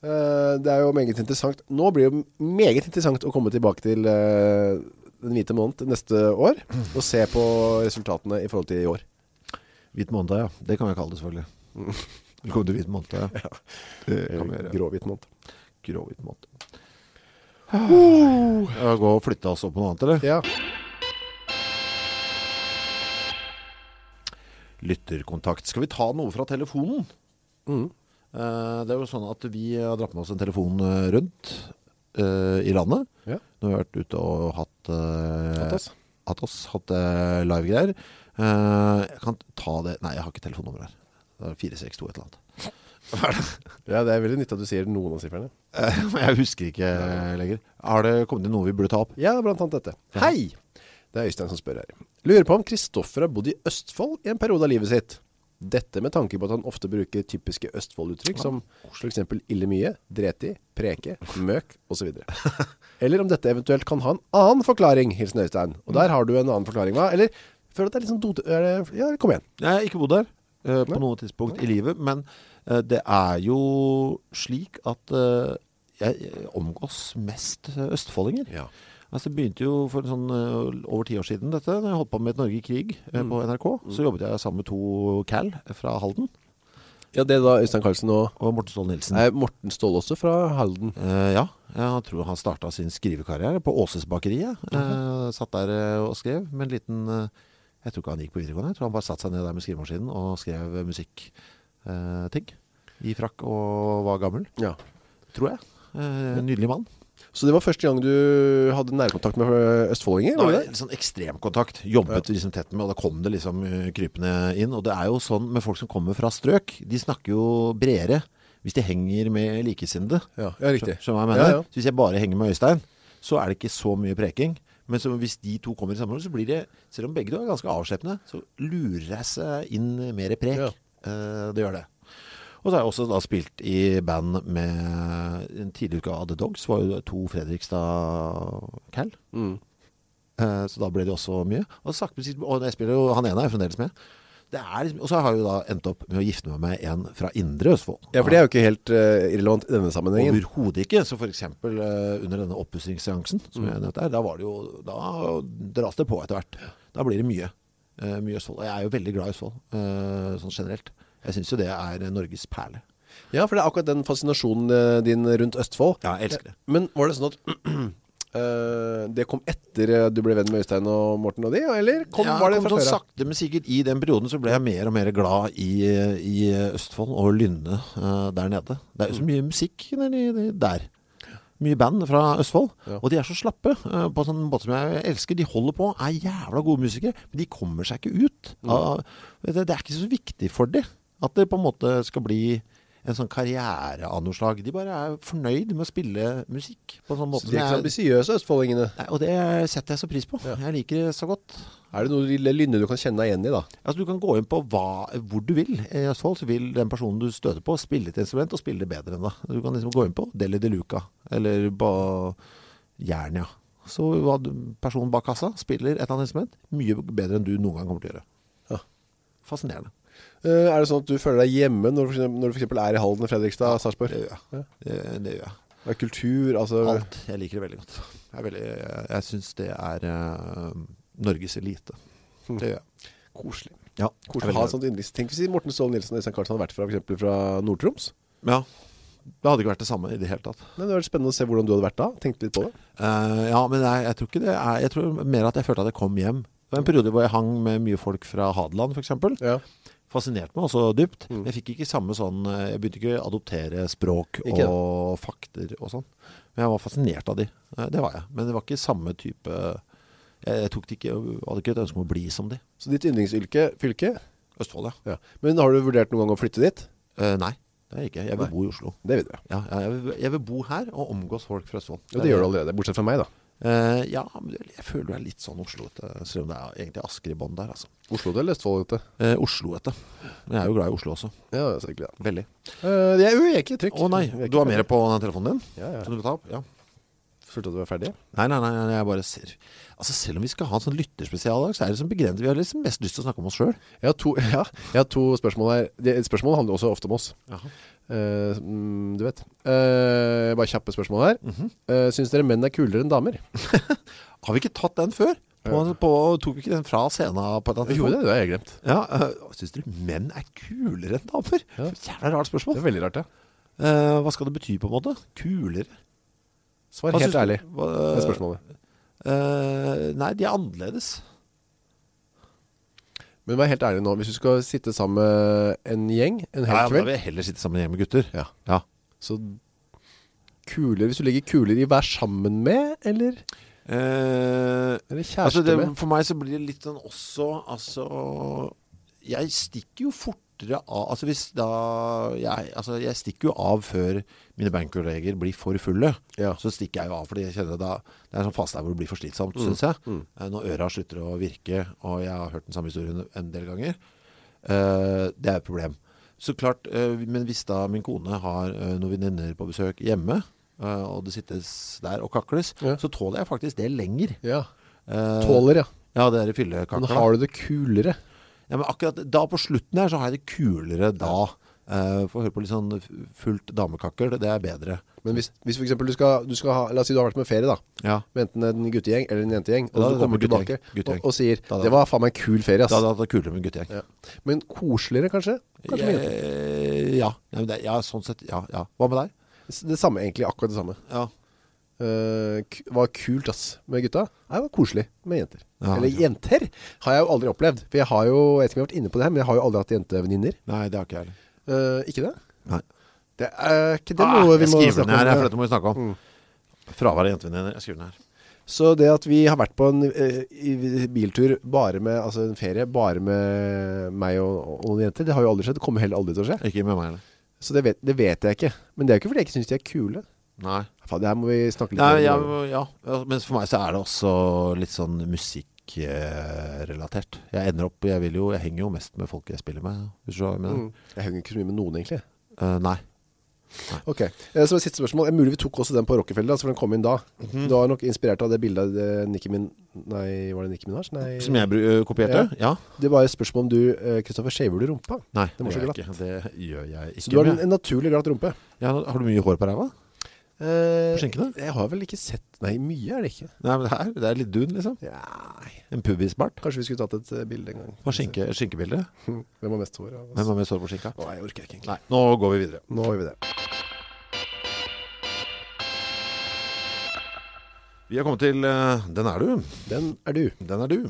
Speaker 2: Eh, Det er jo meget interessant Nå blir det jo meget interessant å komme tilbake til eh, Den hvite måned neste år Og se på resultatene i forhold til i år
Speaker 1: Hvit måned, ja Det kan jeg kalle det selvfølgelig Velkommen til hvit måned, Mm. ja Det kan vi gjøre
Speaker 2: Grå-hvit måned
Speaker 1: grovt måte. Jeg går og flytter oss opp på noe annet, eller?
Speaker 2: Ja,
Speaker 1: Lytterkontakt. Skal vi ta noe fra telefonen?
Speaker 2: Mhm.
Speaker 1: Eh, det er jo sånn at vi har dratt med oss en telefon eh, rundt eh, i landet.
Speaker 2: Ja.
Speaker 1: Nå har vi vært ute og hatt, eh,
Speaker 2: Hatt oss.
Speaker 1: hatt, oss, hatt, eh, live-greier. Eh, jeg kan ta det. Nei, jeg har ikke telefonnummer her. Det er 462 et eller annet. Hva er det?
Speaker 2: ja det er veldig nyttig at du sier noen av siffrene
Speaker 1: Eh, Jeg husker ikke eh, lenger. Har det kommet inn noe vi burde ta opp?
Speaker 2: Ja, blant annet dette
Speaker 1: Ja.
Speaker 2: Hei, det er Øystein som spør her Lurer på om Kristoffer har bodd i Østfold i en periode av livet sitt Dette med tanke på at han ofte bruker typiske Østfold-uttrykk Som for eksempel ille mye, dreti, preke, møk og så videre Eller om dette eventuelt kan ha en annen forklaring, hilsen Øystein Og der har du en annen forklaring, hva? Eller føler du at det er litt sånn dot... er det- Ja, kom igjen
Speaker 1: Jeg har ikke bodd der eh, på noe tidspunkt i livet, men eh, det er jo slik at eh, jeg jeg omgås mest eh, østfoldinger.
Speaker 2: Ja.
Speaker 1: Altså, det begynte jo for en sånn, eh, over ti år siden dette, da jeg holdt på med et Norge i krig eh, på NRK. Så jobbet jeg sammen med to Cal fra Halden
Speaker 2: Ja, det er da Øystein Karlsen og
Speaker 1: og Morten Ståhl Nilsen.
Speaker 2: Nei, Morten Stål også fra Halden
Speaker 1: Eh, ja, jeg tror han startet sin skrivekarriere på Åses bakeriet. Eh, satt der eh, og skrev med en liten... eh, jeg tror ikke han gikk på videregående. Jeg tror han bare satt seg ned der med skrivemaskinen og skrev musikkting. I frakk og var gammel,
Speaker 2: Ja
Speaker 1: tror jeg. Eh, nydelig mann.
Speaker 2: Så det var første gang du hadde nærkontakt med øh, østfoldinger?
Speaker 1: Det
Speaker 2: var
Speaker 1: var
Speaker 2: det det?
Speaker 1: litt sånn ekstremkontakt. Jobbet liksom tett med, og da kom det liksom eh, krypende inn. Og det er jo sånn med folk som kommer fra strøk. De snakker jo bredere hvis de henger med likesinnede.
Speaker 2: Ja, ja, riktig.
Speaker 1: Skjønner du hva jeg mener?
Speaker 2: Ja, ja.
Speaker 1: Så hvis jeg bare henger med Øystein, så er det ikke så mye preking. Men så hvis de to kommer i samhold, så blir det, selv om begge to er ganske avsleppende, så lurer jeg seg inn mer prek.
Speaker 2: Ja.
Speaker 1: Eh, det gjør det. Og så har jeg også da spilt i band med en tidlig utgave av The Dogs, var jo to Fredrikstad-kall. Eh, Så da ble det også mye Og, sakte, men sikkert- og jeg spiller jo, han ene er jo fremdeles med Det er liksom, Og så har jeg jo da endt opp med å gifte meg med en fra Indre Østfold
Speaker 2: Ja, for det er jo ikke helt øh, irrelevant i denne sammenhengen.
Speaker 1: Overhodet ikke Så for eksempel eh, under denne oppussingsseansen Som jeg nevnte her Da var det jo Da dras det på etter hvert Da blir det mye eh, Mye Østfold Og jeg er jo veldig glad i Østfold eh, Sånn generelt Jeg synes jo det er Norges perle
Speaker 2: Ja, for det er akkurat den fascinasjonen øh, din rundt Østfold.
Speaker 1: Ja, jeg elsker det
Speaker 2: Men var det sånn at øh, det kom etter øh, du ble venn med Øystein og Morten og de, eller kom,
Speaker 1: ja,
Speaker 2: var det
Speaker 1: kom
Speaker 2: fra
Speaker 1: sånn
Speaker 2: før? av?
Speaker 1: sakte men sikkert i den perioden så ble jeg mer og mer glad i, i Østfold og Lynne eh, der nede. Det er
Speaker 2: Mm.
Speaker 1: jo så mye musikk nedi- der. Mye band fra Østfold.
Speaker 2: Ja.
Speaker 1: Og de er så slappe eh, på en sånn måte som jeg elsker. De holder på, er jævla gode musikere, men de kommer
Speaker 2: Mm.
Speaker 1: seg ikke ut. av- vet du, det er ikke så viktig for dem at det på en måte skal bli en sånn karriere av noe slag. De bare er fornøyd med å spille musikk på en sånn måte.
Speaker 2: Så de er ikke så
Speaker 1: Det er-
Speaker 2: ambisiøse, østfoldingene.
Speaker 1: Nei, og det setter jeg så pris på. Jeg liker det så godt.
Speaker 2: Er det noen lille lynne du kan kjenne deg igjen i, da?
Speaker 1: Altså, du kan gå inn på hva, hvor du vil. I Østfold så vil den personen du støter på spille et instrument og spille det bedre enn deg. Du kan liksom gå inn på Deli de Luca eller på Jernia. Så hva du- personen bak kassa spiller et eller annet instrument mye bedre enn du noen gang kommer til å gjøre.
Speaker 2: Ja.
Speaker 1: Fascinerende.
Speaker 2: Eh, er det sånn at du føler deg hjemme når du, for eksempel- når du for eksempel er i Halden, Fredrikstad, Sarpsborg?
Speaker 1: Det gjør
Speaker 2: Ja.
Speaker 1: jeg. Det, det gjør jeg.
Speaker 2: Det er kultur, altså
Speaker 1: Alt. Jeg liker det veldig godt. Jeg, er veldig- jeg, jeg syns det er eh, Norges elite.
Speaker 2: Mm.
Speaker 1: Det gjør jeg.
Speaker 2: Koselig.
Speaker 1: Ja,
Speaker 2: Koselig å ha sånn- et sånt innlegg. Tenk hvis Morten Ståhl Nilsen og Øystein Carlsen hadde vært fra, for eksempel fra Nord-Troms.
Speaker 1: Ja. Det hadde ikke vært det samme i det hele tatt.
Speaker 2: Nei, Det hadde vært spennende å se hvordan du hadde vært da. Tenkte litt på det.
Speaker 1: Eh, ja, men jeg, jeg tror ikke det er, Jeg tror mer at jeg følte at jeg kom hjem Det var en periode hvor jeg hang med mye folk fra Hadeland for eksempel
Speaker 2: Ja.
Speaker 1: Fascinert meg også dypt
Speaker 2: Mm.
Speaker 1: Men jeg fikk ikke samme sånn eh, Jeg begynte ikke å adoptere språk
Speaker 2: Ikke det.
Speaker 1: og fakter og sånn Men jeg var fascinert av de Eh, Det var jeg Men det var ikke samme type Jeg, jeg tok det ikke, hadde ikke et ønske om å bli som de
Speaker 2: Så ditt yndlingsfylke fylke,
Speaker 1: Østfold,
Speaker 2: ja.
Speaker 1: ja
Speaker 2: Men har du vurdert noen gang å flytte dit?
Speaker 1: Eh, Nei, det er jeg ikke Jeg vil
Speaker 2: Nei.
Speaker 1: bo i Oslo
Speaker 2: Det vil du.
Speaker 1: ja, ja, jeg, vil, jeg vil bo her og omgås folk fra Østfold
Speaker 2: Jo, det gjør du allerede, bortsett fra meg da.
Speaker 1: Eh, ja, men det- jeg føler det er litt sånn Oslo Selv om det er egentlig Asker i bånd der altså.
Speaker 2: Oslo til eller Østfold, vet du?
Speaker 1: eh, Oslo vet du Men jeg er jo glad i Oslo også
Speaker 2: Ja, det er sikkert det.
Speaker 1: Veldig
Speaker 2: Eh, jeg, jo, jeg er ikke trykk.
Speaker 1: Å nei,
Speaker 2: Jeg er ikke
Speaker 1: du har
Speaker 2: ferdig.
Speaker 1: mer på den telefonen din
Speaker 2: Ja, ja.
Speaker 1: Som du vil ta opp ja.
Speaker 2: Følte at du var ferdig?
Speaker 1: Nei, nei, nei, nei, jeg bare ser Altså selv om vi skal ha en sånn lytterspesial i dag, Så er det liksom begrenset Vi har liksom mest lyst til å snakke om oss selv
Speaker 2: Jeg har to, ja, jeg har to spørsmål her. Det, spørsmål handler også ofte om oss.
Speaker 1: Jaha.
Speaker 2: Eh, mm, du vet. Eh, bare kjappe spørsmål her. Eh, synes dere menn er kulere enn damer?
Speaker 1: Har vi ikke tatt den før? På, på, tok vi ikke den fra scenen på et eller annet tidspunkt?
Speaker 2: det har jeg glemt.
Speaker 1: Ja, øh, synes dere menn er kulere enn damer?
Speaker 2: Ja.
Speaker 1: Jævla rart
Speaker 2: Det
Speaker 1: spørsmål
Speaker 2: er veldig rart, ja.
Speaker 1: Eh, Hva skal det bety på en måte? Kulere?
Speaker 2: Svar
Speaker 1: Hva
Speaker 2: helt
Speaker 1: synes du-
Speaker 2: ærlig. Det
Speaker 1: hva-
Speaker 2: er spørsmålet.
Speaker 1: Eh, nei, de er annerledes
Speaker 2: Men vær helt ærlig nå. Hvis du skal sitte sammen med en gjeng en hel
Speaker 1: Ja, men Da
Speaker 2: kveld,
Speaker 1: vil jeg heller sitte sammen hjemme med gutter
Speaker 2: Ja.
Speaker 1: ja.
Speaker 2: så kuler, hvis du legger kuler i hver sammen med, eller,
Speaker 1: Eh,
Speaker 2: eller kjæreste
Speaker 1: altså det,
Speaker 2: med.
Speaker 1: For meg så blir det litt sånn også Altså Jeg stikker jo fortere av Altså hvis da Jeg, altså, jeg stikker jo av før mine bankkolleger blir for fulle
Speaker 2: Ja.
Speaker 1: Så stikker jeg jo av Fordi jeg kjenner da Det er en sånn fase der hvor det blir for slitsomt
Speaker 2: Mm,
Speaker 1: Synes jeg Eh, Når øra slutter å virke Og jeg har hørt den samme historien en del ganger eh, Det er et problem Så klart eh, Men hvis da min kone har eh, noen venninner på besøk hjemme eh, Og det sittes der og kakles
Speaker 2: Ja.
Speaker 1: Så tåler jeg faktisk det lenger
Speaker 2: Ja.
Speaker 1: Eh,
Speaker 2: Tåler, ja.
Speaker 1: Ja, det er i
Speaker 2: Men
Speaker 1: fyllekaker da.
Speaker 2: har du det kulere?
Speaker 1: Ja, men akkurat da på slutten her så har jeg det kulere da Eh, Få høre på litt sånn f- fullt damekakker, det er bedre
Speaker 2: Men hvis, hvis for eksempel du skal, du skal ha, la oss si du har vært med ferie da,
Speaker 1: Ja,
Speaker 2: med enten en guttegjeng eller en jentegjeng, og
Speaker 1: Ja,
Speaker 2: du
Speaker 1: det
Speaker 2: kommer
Speaker 1: blir guttegjeng.
Speaker 2: tilbake
Speaker 1: Guttegjeng.
Speaker 2: Og, og sier,
Speaker 1: Da, da.
Speaker 2: det var faen meg en kul ferie,
Speaker 1: da
Speaker 2: ass.
Speaker 1: hadde jeg hatt det kulere med en guttegjeng
Speaker 2: Ja. Men koseligere kanskje? Kanskje med jenter.
Speaker 1: Eh, ja. Ja, men det, ja, sånn sett, ja, ja Hva med deg?
Speaker 2: Det samme egentlig, akkurat det samme.
Speaker 1: Ja,
Speaker 2: Eh, ku- var kult, ass, med gutta. Nei, det var koselig med jenter.
Speaker 1: Ja,
Speaker 2: eller
Speaker 1: ikke
Speaker 2: jenter har jeg jo aldri opplevd, for jeg har jo, jeg vet ikke om jeg har vært inne på det her, men jeg har jo aldri hatt jentevenninner.
Speaker 1: nei, det har ikke jeg heller
Speaker 2: Eh, ikke det?
Speaker 1: Nei.
Speaker 2: Det er ikke det
Speaker 1: Ah,
Speaker 2: noe vi
Speaker 1: jeg
Speaker 2: må
Speaker 1: skriver
Speaker 2: snakke
Speaker 1: den her,
Speaker 2: om.
Speaker 1: her, for dette må vi snakke om Mm. Fravær av jentevenner, jeg skriver den her
Speaker 2: Så det at vi har vært på en eh, i- biltur bare med, altså en ferie, bare med meg og, og noen jenter, det har jo aldri skjedd, det kommer heller aldri til å skje.
Speaker 1: Ikke med meg heller
Speaker 2: Så det vet, det vet jeg ikke. Men det er jo ikke fordi jeg ikke synes de er kule. Ah,
Speaker 1: Nei,
Speaker 2: Faen, det her må vi snakke litt
Speaker 1: Nei
Speaker 2: mer
Speaker 1: ja,
Speaker 2: om.
Speaker 1: ja, ja, men for meg så er det også litt sånn musikkrelatert Jeg ender opp, jeg vil jo, jeg henger jo mest med folk jeg spiller med Hvis du skjønner hva jeg mener
Speaker 2: Mm. Jeg henger ikke så mye med noen egentlig.
Speaker 1: Eh, nei.
Speaker 2: Ok, eh, så et siste spørsmål. Eh, Mulig vi tok også den på Rockefeller, altså for den kom inn da.
Speaker 1: Mhm.
Speaker 2: Du var nok inspirert av det bildet eh, Nicki Min... Nei, var det Nicki Minaj? Nei.
Speaker 1: Som jeg bru-
Speaker 2: eh,
Speaker 1: ø, kopierte? Ja.
Speaker 2: Det var et spørsmål om du, eh, Kristoffer, skjever du rumpa?
Speaker 1: Nei,
Speaker 2: Det må så
Speaker 1: gjør
Speaker 2: glatt.
Speaker 1: jeg ikke. Det gjør jeg ikke.
Speaker 2: Så du har
Speaker 1: men
Speaker 2: en, en naturlig glatt rumpe.
Speaker 1: jeg- ja, har du mye hår på ræva?
Speaker 2: Eh,
Speaker 1: På skinkene?
Speaker 2: Jeg har vel ikke sett... Nei, mye er det ikke.
Speaker 1: Nei, men det er, det er litt dun, liksom.
Speaker 2: Nei.
Speaker 1: En pubisbart.
Speaker 2: Kanskje vi skulle tatt et eh, bilde en gang.
Speaker 1: På skinke, skinkebildet.
Speaker 2: Hvem har mest hår av
Speaker 1: Hvem
Speaker 2: oss?
Speaker 1: har med sår på skinka?
Speaker 2: Nei, jeg orker ikke egentlig.
Speaker 1: Nei, nå går vi videre.
Speaker 2: Nå har vi det.
Speaker 1: Vi har kommet til eh, Den er du.
Speaker 2: Den er du.
Speaker 1: Den er du.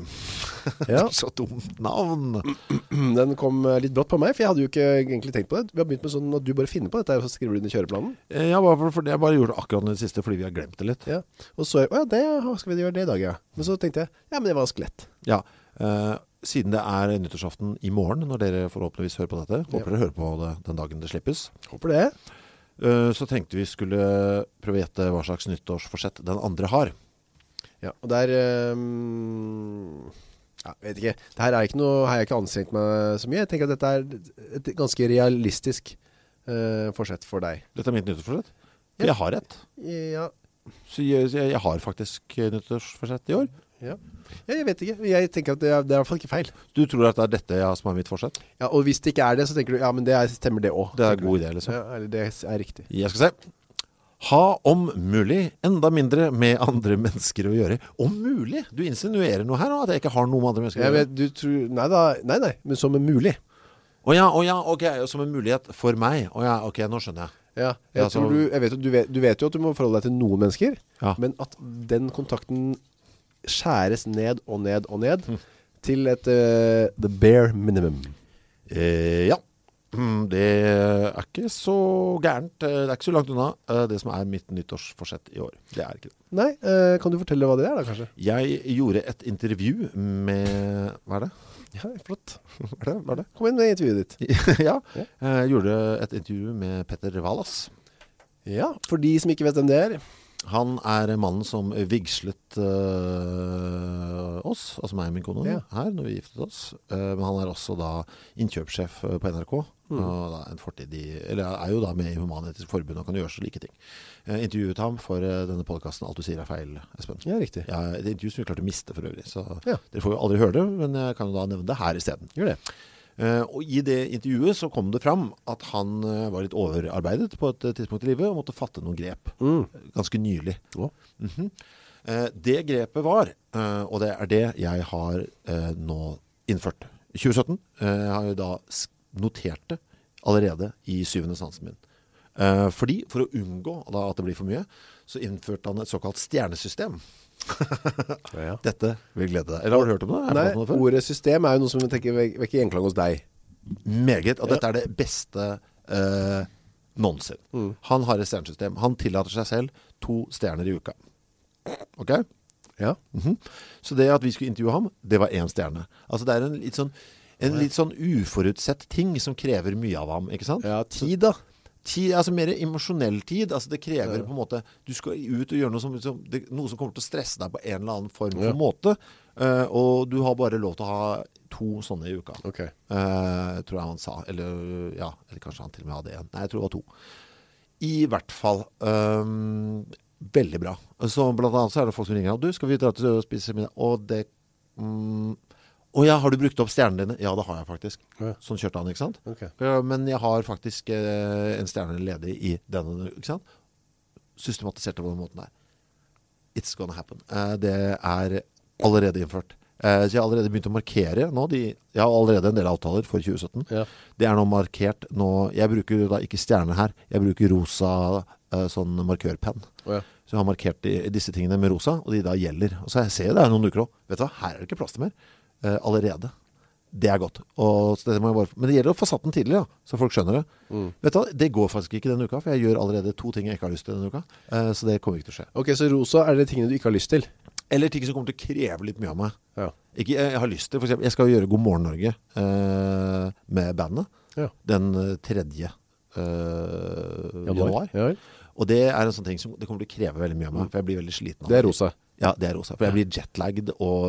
Speaker 2: Ja,
Speaker 1: Så dumt navn.
Speaker 2: den kom eh, litt brått på meg, for jeg hadde jo ikke egentlig tenkt på det. Vi har begynt med sånn at du bare finner på dette, her, og så skriver du den i kjøreplanen.
Speaker 1: Eh, Ja, bare for, for jeg bare gjorde det akkurat den siste fordi vi har glemt det litt.
Speaker 2: Ja, og så, å ja, det, å, skal vi gjøre det i dag, ja. Men så tenkte jeg, ja, men det var skelett.
Speaker 1: Ja. eh, siden det er nyttårsaften i morgen, når dere forhåpentligvis hører på dette, håper dere hører på det den dagen det slippes,
Speaker 2: Håper det
Speaker 1: eh, så tenkte vi skulle prøve å gjette hva slags nyttårsforsett den andre har.
Speaker 2: Ja, og der ehm, ja, Jeg vet ikke Det her er ikke noe Her har jeg ikke anstrengt meg så mye Jeg tenker at dette er et ganske realistisk eh, Forsett for deg
Speaker 1: Dette er mitt nyttårsforsett. For
Speaker 2: Ja.
Speaker 1: Jeg har et.
Speaker 2: Ja,
Speaker 1: Så jeg, jeg, jeg har faktisk nyttårsforsett i år.
Speaker 2: ja. ja jeg vet ikke Jeg tenker at det er, det er i hvert fall ikke feil
Speaker 1: Du tror at det er dette jeg, har som er mitt forsett?
Speaker 2: Ja, og hvis det ikke er det Så tenker du Ja, men det er, stemmer det også
Speaker 1: Det er
Speaker 2: tenker
Speaker 1: en
Speaker 2: du.
Speaker 1: god idé, liksom.
Speaker 2: ja, Eller det er riktig
Speaker 1: Jeg skal se. Ha om mulig enda mindre med andre mennesker å gjøre. Om mulig? Du insinuerer noe her nå, at jeg ikke har noe med andre mennesker å
Speaker 2: jeg
Speaker 1: gjøre.
Speaker 2: vet, du tror, nei da, nei nei, men som er mulig
Speaker 1: Å ja, å ja, ok, som en mulighet for meg. Å ja, ok, nå skjønner jeg.
Speaker 2: ja, jeg,
Speaker 1: Ja, så-
Speaker 2: tror du, jeg vet, jo- du, vet, du vet jo at du må forholde deg til noen mennesker
Speaker 1: Ja.
Speaker 2: Men at den kontakten skjæres ned og ned og ned Til et eh, the bare minimum
Speaker 1: Eh, ja. Mm, Det er ikke så gærent. eh, Det er ikke så langt unna eh, det som er mitt nyttårsforsett i år. Det er ikke det.
Speaker 2: Nei, eh, kan du fortelle hva det er da kanskje?
Speaker 1: Jeg gjorde et intervju med Hva er det?
Speaker 2: Ja, flott
Speaker 1: Hva er det? Hva er det?
Speaker 2: Kom inn med intervjuet ditt
Speaker 1: ja.
Speaker 2: Ja.
Speaker 1: eh, Jeg gjorde et intervju med Petter Valas.
Speaker 2: Ja, for de som ikke vet hvem det er
Speaker 1: Han er mannen som vigslet eh, oss, altså meg og min kone,
Speaker 2: Ja.
Speaker 1: her når vi giftet oss. Eh, men han er også da innkjøpssjef eh, på NRK,
Speaker 2: Mm.
Speaker 1: og da en fortid i, eller er jo da med i Human-Etisk Forbund og kan gjøre så like ting. Jeg intervjuet ham for eh, denne podcasten «Alt du sier er feil», Espen.
Speaker 2: Ja, riktig
Speaker 1: Ja, det er et intervju som vi klarte å miste for øvrig, så
Speaker 2: Ja.
Speaker 1: dere får jo aldri høre det, men jeg kan jo da nevne det her i stedet.
Speaker 2: Gjør det
Speaker 1: Eh, og i det intervjuet så kom det fram at han eh, var litt overarbeidet på et eh, tidspunkt i livet og måtte fatte noen grep, ganske nylig.
Speaker 2: Å.
Speaker 1: Mhm. Eh, det grepet var, eh, og det er det jeg har eh, nå innført. I 2017 eh, jeg har jeg da sk- notert det allerede i syvende sansen min. Eh, fordi, for å unngå da, at det blir for mye, så innførte han et såkalt stjernesystem.
Speaker 2: ja.
Speaker 1: Dette vil glede deg. Eller har du hørt om det? Er det
Speaker 2: Nei,
Speaker 1: noe om det før?
Speaker 2: ordet system er jo noe som jeg tenker vek- vekker gjenklang hos deg
Speaker 1: Meget, og dette er det beste eh, nonsen.
Speaker 2: Mm.
Speaker 1: Han har et stjernesystem. Han tillater seg selv to stjerner i uka. Ok?
Speaker 2: Ja
Speaker 1: Mhm. Så det at vi skulle intervjue ham, det var én stjerne. Altså det er en litt sånn, en litt sånn uforutsett ting som krever mye av ham, ikke sant?
Speaker 2: Ja, tid da
Speaker 1: Tid, altså mer emosjonell tid Altså det krever på en måte Du skal ut og gjøre noe som, som det, Noe som kommer til å stresse deg på en eller annen form for
Speaker 2: Ja.
Speaker 1: måte Eh, Og du har bare lov til å ha to sånne i uka
Speaker 2: Ok
Speaker 1: Eh, tror jeg han sa eller, ja, eller kanskje han til og med hadde en Nei, jeg tror det var to I hvert fall øhm, Veldig bra Så blant annet så er det folk som ringer Du, skal vi dra til å spise middag? Og det mm, «Å ja, har du brukt opp stjernene dine? Ja, det har jeg faktisk
Speaker 2: Ja.
Speaker 1: Sånn kjørte han, ikke sant?
Speaker 2: Ok.
Speaker 1: «Ja, men jeg har faktisk eh, en stjerne ledig i denne Ikke sant? Systematisert det på den måten der It's gonna happen Eh, Det er allerede innført Eh, Så jeg har allerede begynt å markere nå de, Jeg har allerede en del avtaler for 2017
Speaker 2: Ja.
Speaker 1: Det er nå markert nå, Jeg bruker da ikke stjerne her Jeg bruker rosa eh, sånn markørpenn
Speaker 2: Å ja.
Speaker 1: Så jeg har markert de, disse tingene med rosa Og de da gjelder Og så jeg ser det er noen uker også Vet du hva, her er det ikke plass til mer eh, Allerede Det er godt Og så dette må jeg bare, Men det gjelder å få satt den tidlig da Så folk skjønner det
Speaker 2: Mm.
Speaker 1: Vet du hva, det går faktisk ikke denne uka For jeg gjør allerede to ting jeg ikke har lyst til denne uka eh, Så det kommer ikke til å skje
Speaker 2: Ok, så rosa er det tingene du ikke har lyst til
Speaker 1: Eller ting som kommer til å kreve litt mye av meg
Speaker 2: Ja
Speaker 1: ikke, jeg, jeg har lyst til, for eksempel, jeg skal gjøre God Morgen Norge eh, med bandet
Speaker 2: Ja.
Speaker 1: den eh, tredje eh, januar.
Speaker 2: Ja, vel.
Speaker 1: Og det er en sånn ting som det kommer til å kreve veldig mye av meg, for jeg blir veldig sliten av
Speaker 2: Det er rosa
Speaker 1: Ja, det er rosa, for jeg blir jetlagged og,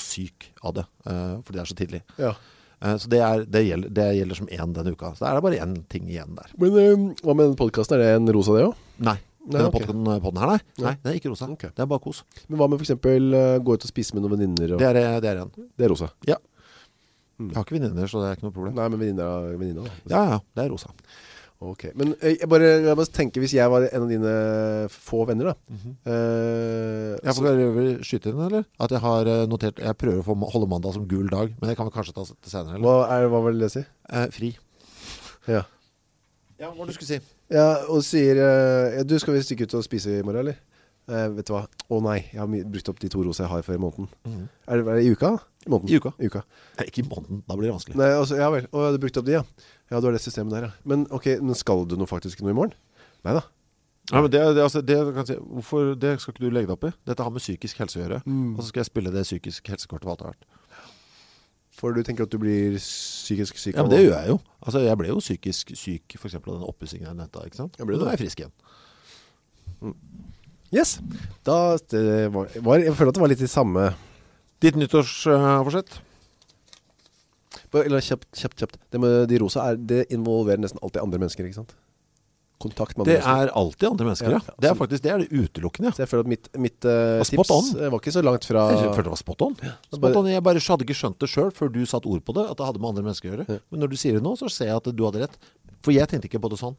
Speaker 1: og syk av det, eh, fordi det er så tidlig.
Speaker 2: Ja
Speaker 1: Eh, så det, er, det, gjelder, det gjelder som én denne uka, så da er det bare én ting igjen der.
Speaker 2: Men øhm, hva med den podcasten, er det en rosa det også?
Speaker 1: Nei,
Speaker 2: Nei,
Speaker 1: denne
Speaker 2: ok.
Speaker 1: podden, podden her, nei. Nei, det er ikke rosa,
Speaker 2: Ok.
Speaker 1: det er bare kos.
Speaker 2: Men hva med for eksempel øh, gå ut og spise med noen veninner? Og...
Speaker 1: Det er, eh, det er igjen.
Speaker 2: Det er rosa
Speaker 1: Ja. Jeg har ikke venninner, så det er ikke noe problem.
Speaker 2: Nei, men veninner er veninner da
Speaker 1: Mm. Ja, ja, det er rosa.
Speaker 2: Ok, men eh, jeg bare, jeg bare tenker Hvis jeg var en av dine få venner da
Speaker 1: Mhm.
Speaker 2: eh,
Speaker 1: Jeg
Speaker 2: så-
Speaker 1: får prøve å skyte inn, eller? At jeg har eh, notert Jeg prøver å få, holde mandag som gul dag Men det kan vi kanskje ta s- til senere, eller?
Speaker 2: hva, er, hva vil det si?
Speaker 1: Eh, fri
Speaker 2: Ja,
Speaker 1: Ja, hva du skulle si?
Speaker 2: ja og sier eh, ja, Du skal vi stikke ut og spise i morgen, eller? Eh, vet du hva? Å nei, jeg har my- brukt opp de to rosa jeg har for i måneden er, det, er det i uka? I, måneden?
Speaker 1: Mhm. I uka.
Speaker 2: I uka
Speaker 1: Nei, ikke i måneden, da blir det vanskelig
Speaker 2: Nei, altså, ja vel, å, du har brukt opp de, ja Ja, du har det systemet der, ja Men ok, men skal du noe faktisk noe i morgen? Nei da
Speaker 1: Nei, men det, det, altså, det, kan jeg si, hvorfor, det skal ikke du Mm. legge deg opp i Dette har med psykisk helse å gjøre Og så skal jeg spille det psykisk helsekortet for alt det har vært
Speaker 2: For du tenker at du blir psykisk syk
Speaker 1: Ja,
Speaker 2: av
Speaker 1: men det
Speaker 2: å-
Speaker 1: gjør jeg jo Altså, jeg ble jo psykisk syk For eksempel av den oppussingen jeg nevnte Ikke sant?
Speaker 2: Ja, ble du
Speaker 1: Nå er jeg frisk igjen
Speaker 2: Yes da, det var, var, Jeg føler at det var litt i samme
Speaker 1: Ditt eh, nyttårsforsett
Speaker 2: Bare- Eller kjapt, kjapt, kjapt Det med de rosa er Det involverer nesten alltid andre mennesker, ikke sant? Kontakt med
Speaker 1: Det
Speaker 2: andre mennesker
Speaker 1: er alltid andre mennesker,
Speaker 2: Ja,
Speaker 1: ja
Speaker 2: ja.
Speaker 1: Det er faktisk, det er det utelukkende
Speaker 2: Så jeg føler at mitt, mitt eh,
Speaker 1: Var spot
Speaker 2: tips
Speaker 1: on.
Speaker 2: eh, Var ikke så langt fra
Speaker 1: Jeg følte det var spot on Spot on, jeg bare hadde ikke skjønt det selv Før du satt ord på det At det hadde med andre mennesker å gjøre Men når du sier det nå Så ser jeg at du hadde rett For jeg tenkte ikke på det sånn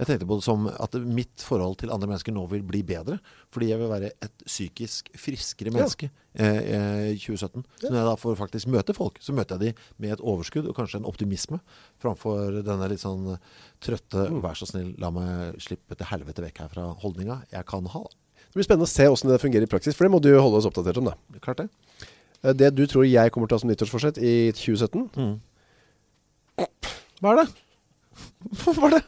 Speaker 1: Jeg tenkte på det som At mitt forhold til andre mennesker nå vil bli bedre Fordi jeg vil være et psykisk friskere menneske eh, eh, i 2017 Så når jeg da får faktisk møte folk Så møter jeg de med et overskudd Og kanskje en optimisme Framfor denne litt sånn trøtte Vær så snill, la meg slippe til helvete vekk herfra Holdninga jeg kan ha
Speaker 2: Det blir spennende å se hvordan det fungerer i praksis For det må du holde oss oppdatert om da
Speaker 1: Klart det
Speaker 2: Eh, Det du tror jeg kommer til å ha som nyttårsforsett i 2017
Speaker 1: Hva er det? Hva er det?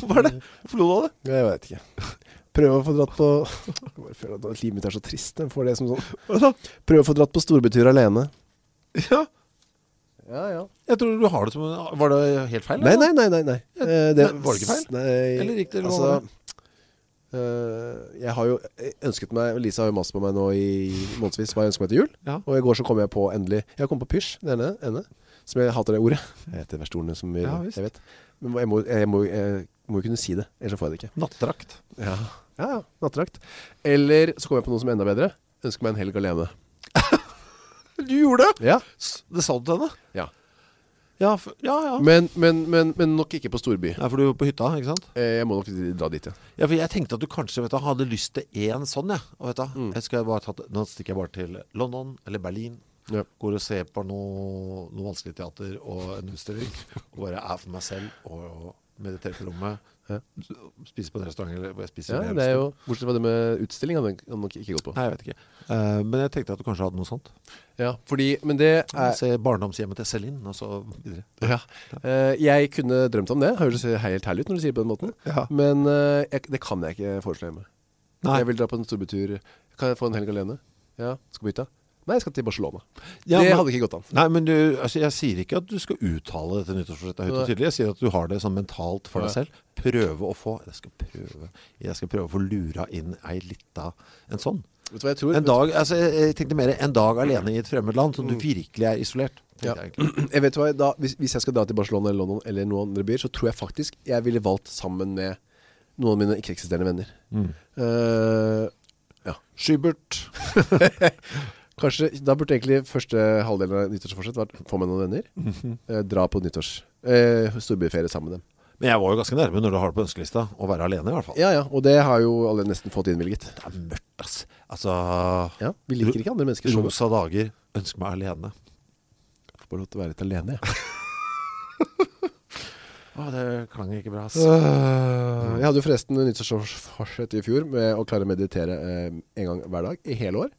Speaker 1: Hva er det? Hvorfor lo du av det?
Speaker 2: Jeg vet ikke Prøve å få dratt på Jeg bare føler at livet mitt er så trist Jeg får det som sånn
Speaker 1: Hva da?
Speaker 2: Prøve å få dratt på storbytur alene
Speaker 1: Ja,
Speaker 2: Ja, ja
Speaker 1: jeg tror du har det som Var det helt feil?
Speaker 2: Nei,
Speaker 1: eller?
Speaker 2: nei, nei, nei, nei. Eh, det-
Speaker 1: Nei, var det ikke feil?
Speaker 2: Nei,
Speaker 1: Eller riktig, eller hva var
Speaker 2: altså, eh, Jeg har jo ønsket meg Lisa har jo mast på meg nå i månedsvis Hva jeg ønsker meg til jul
Speaker 1: Ja.
Speaker 2: Og i går så kom jeg på endelig Jeg kom på pysj, det ene, ene Som jeg hater det ordet Det er et av de verste ordene som vi,
Speaker 1: Ja, visst.
Speaker 2: jeg vet Men jeg må, jeg, må, jeg må jo kunne si det Ellers så får jeg det ikke
Speaker 1: Nattdrakt
Speaker 2: Ja, ja, ja nattrakt Eller så kom jeg på noe som er enda bedre Ønsker meg en helg alene
Speaker 1: Du gjorde det?
Speaker 2: Ja,
Speaker 1: S- Det sa du til henne?
Speaker 2: ja
Speaker 1: Ja, f- ja, ja
Speaker 2: Men, men, men, men nok ikke på storby
Speaker 1: Nei, for du var på hytta, ikke sant?
Speaker 2: Eh, Jeg må nok dra dit, ja
Speaker 1: Ja, for jeg tenkte at du kanskje, vet du, hadde lyst til en sånn, ja Og vet du, jeg skal bare ta Nå stikker jeg bare til London eller Berlin
Speaker 2: Ja.
Speaker 1: Går og ser på noe, noe vanskelig teater Og en utstilling Og bare er for meg selv Og mediterer på rommet
Speaker 2: Ja.
Speaker 1: Spiser på en restaurant Eller hvor jeg spiser
Speaker 2: Ja,
Speaker 1: med
Speaker 2: det er jo Bortsett fra det med utstilling hadde jeg nok ikke gått på
Speaker 1: Nei, jeg vet ikke Eh, Men jeg tenkte at du kanskje hadde noe sånt
Speaker 2: Ja, fordi Men det er
Speaker 1: Se barndomshjemmet til Selin Og så videre
Speaker 2: ja. Eh, Jeg kunne drømt om det Høres helt herlig ut når du sier det på den måten
Speaker 1: Ja.
Speaker 2: Men eh, jeg, det kan jeg ikke foreslå hjemme
Speaker 1: Nei.
Speaker 2: Jeg vil dra på en storbytur Kan jeg få en helg alene? Ja, skal på hytta? Nei, jeg skal til Barcelona
Speaker 1: Ja,
Speaker 2: Det
Speaker 1: men-
Speaker 2: hadde ikke gått an
Speaker 1: Nei, men du, altså, jeg sier ikke at du skal uttale dette nyttårsforsettet høyt og
Speaker 2: Nei.
Speaker 1: tydelig Jeg sier at du har det sånn mentalt for deg
Speaker 2: Ja.
Speaker 1: selv Prøve å få Jeg skal prøve Jeg skal prøve å få lura inn ei lita En sånn
Speaker 2: Vet du hva jeg tror?
Speaker 1: En dag, altså jeg, jeg tenkte mer En dag alene i et fremmed land Sånn at du virkelig er isolert
Speaker 2: Mm. Ja.
Speaker 1: tenkte jeg egentlig.
Speaker 2: Jeg vet hva, da, hvis, hvis jeg skal dra til Barcelona eller London Eller noen andre byer Så tror jeg faktisk Jeg ville valgt sammen med Noen av mine ikke-eksisterende venner Eh, Ja
Speaker 1: Skybert
Speaker 2: Kanskje Da burde egentlig første halvdelen av nyttårsforsett vært Få med noen venner eh, Dra på nyttårs eh, Storbyferie sammen med dem
Speaker 1: Men jeg var jo ganske nærme når du har det på ønskelista Å være alene i hvert fall
Speaker 2: Ja, ja Og det har jo alle nesten fått innvilget
Speaker 1: Det er mørkt ass Altså
Speaker 2: Ja, vi liker ikke andre mennesker som
Speaker 1: Rosa dager Ønsk meg alene
Speaker 2: Bare lov til å være litt alene ja.
Speaker 1: Å, det klang ikke bra ass.
Speaker 2: Øh, Jeg hadde jo forresten nyttårsforsett i fjor Med å klare å meditere eh, en gang hver dag I hele år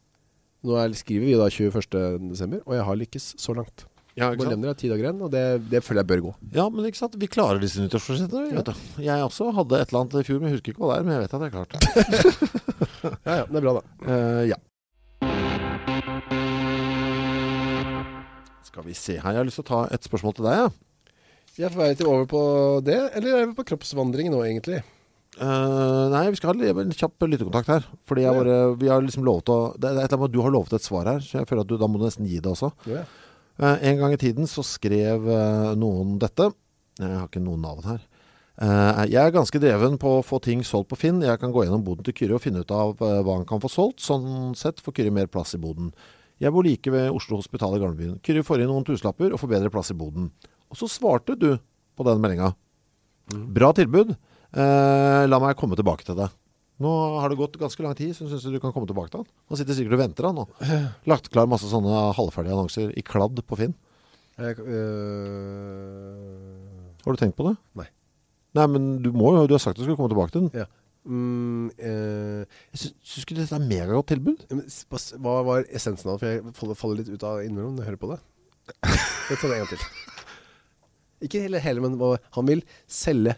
Speaker 2: Nå er, skriver vi da 21. desember Og jeg har lykkes så langt
Speaker 1: Ja,
Speaker 2: Bare nevner jeg ti dager igjen Og det, det føler jeg bør gå
Speaker 1: Ja, men ikke sant? Vi klarer disse nyttårsforsettene. vi, vet du. Jeg også hadde et eller annet i fjor, men jeg husker ikke hva det er, men jeg vet at jeg klarte det.
Speaker 2: Ja, Øh, ja, det er bra da
Speaker 1: Eh, ja. Skal vi se her, jeg har lyst til å ta et spørsmål til deg, ja.
Speaker 2: Jeg får være litt over på det Eller er vi på kroppsvandring nå egentlig?
Speaker 1: Eh, nei, vi skal ha en en kjapp lyttekontakt her Fordi jeg
Speaker 2: Ja.
Speaker 1: bare, vi har liksom lovet å Det er et eller annet med at du har lovet et svar her Så jeg føler at du, da må du nesten gi det også
Speaker 2: Ja.
Speaker 1: Eh, En gang i tiden så skrev eh, noen dette Jeg har ikke noen navn her Eh, Jeg er ganske dreven på å få ting solgt på Finn Jeg kan gå gjennom boden til Kyrre og finne ut av eh, hva han kan få solgt Sånn sett får Kyrre mer plass i boden Jeg bor like ved Oslo Hospital i Garnbyen Kyrre får inn noen tusenlapper og får bedre plass i boden Og så svarte du på den meldingen Bra tilbud eh, La meg komme tilbake til deg Nå har det gått ganske lang tid Så synes jeg du kan komme tilbake til han Han sitter sikkert og venter han nå Lagt klar masse sånne halvferdige annonser I kladd på Finn
Speaker 2: Jeg, øh,
Speaker 1: Har du tenkt på det?
Speaker 2: Nei.
Speaker 1: Nei, men du må jo Du har sagt du skal komme tilbake til den
Speaker 2: ja. Mm, øh,
Speaker 1: Jeg sy- synes ikke dette er mega godt tilbud
Speaker 2: men s- hva s- hva var essensen av det? For jeg faller, faller litt ut av innimellom når jeg hører på det. Jeg tar det en gang til. Ikke hele, hele men hva, han vil selge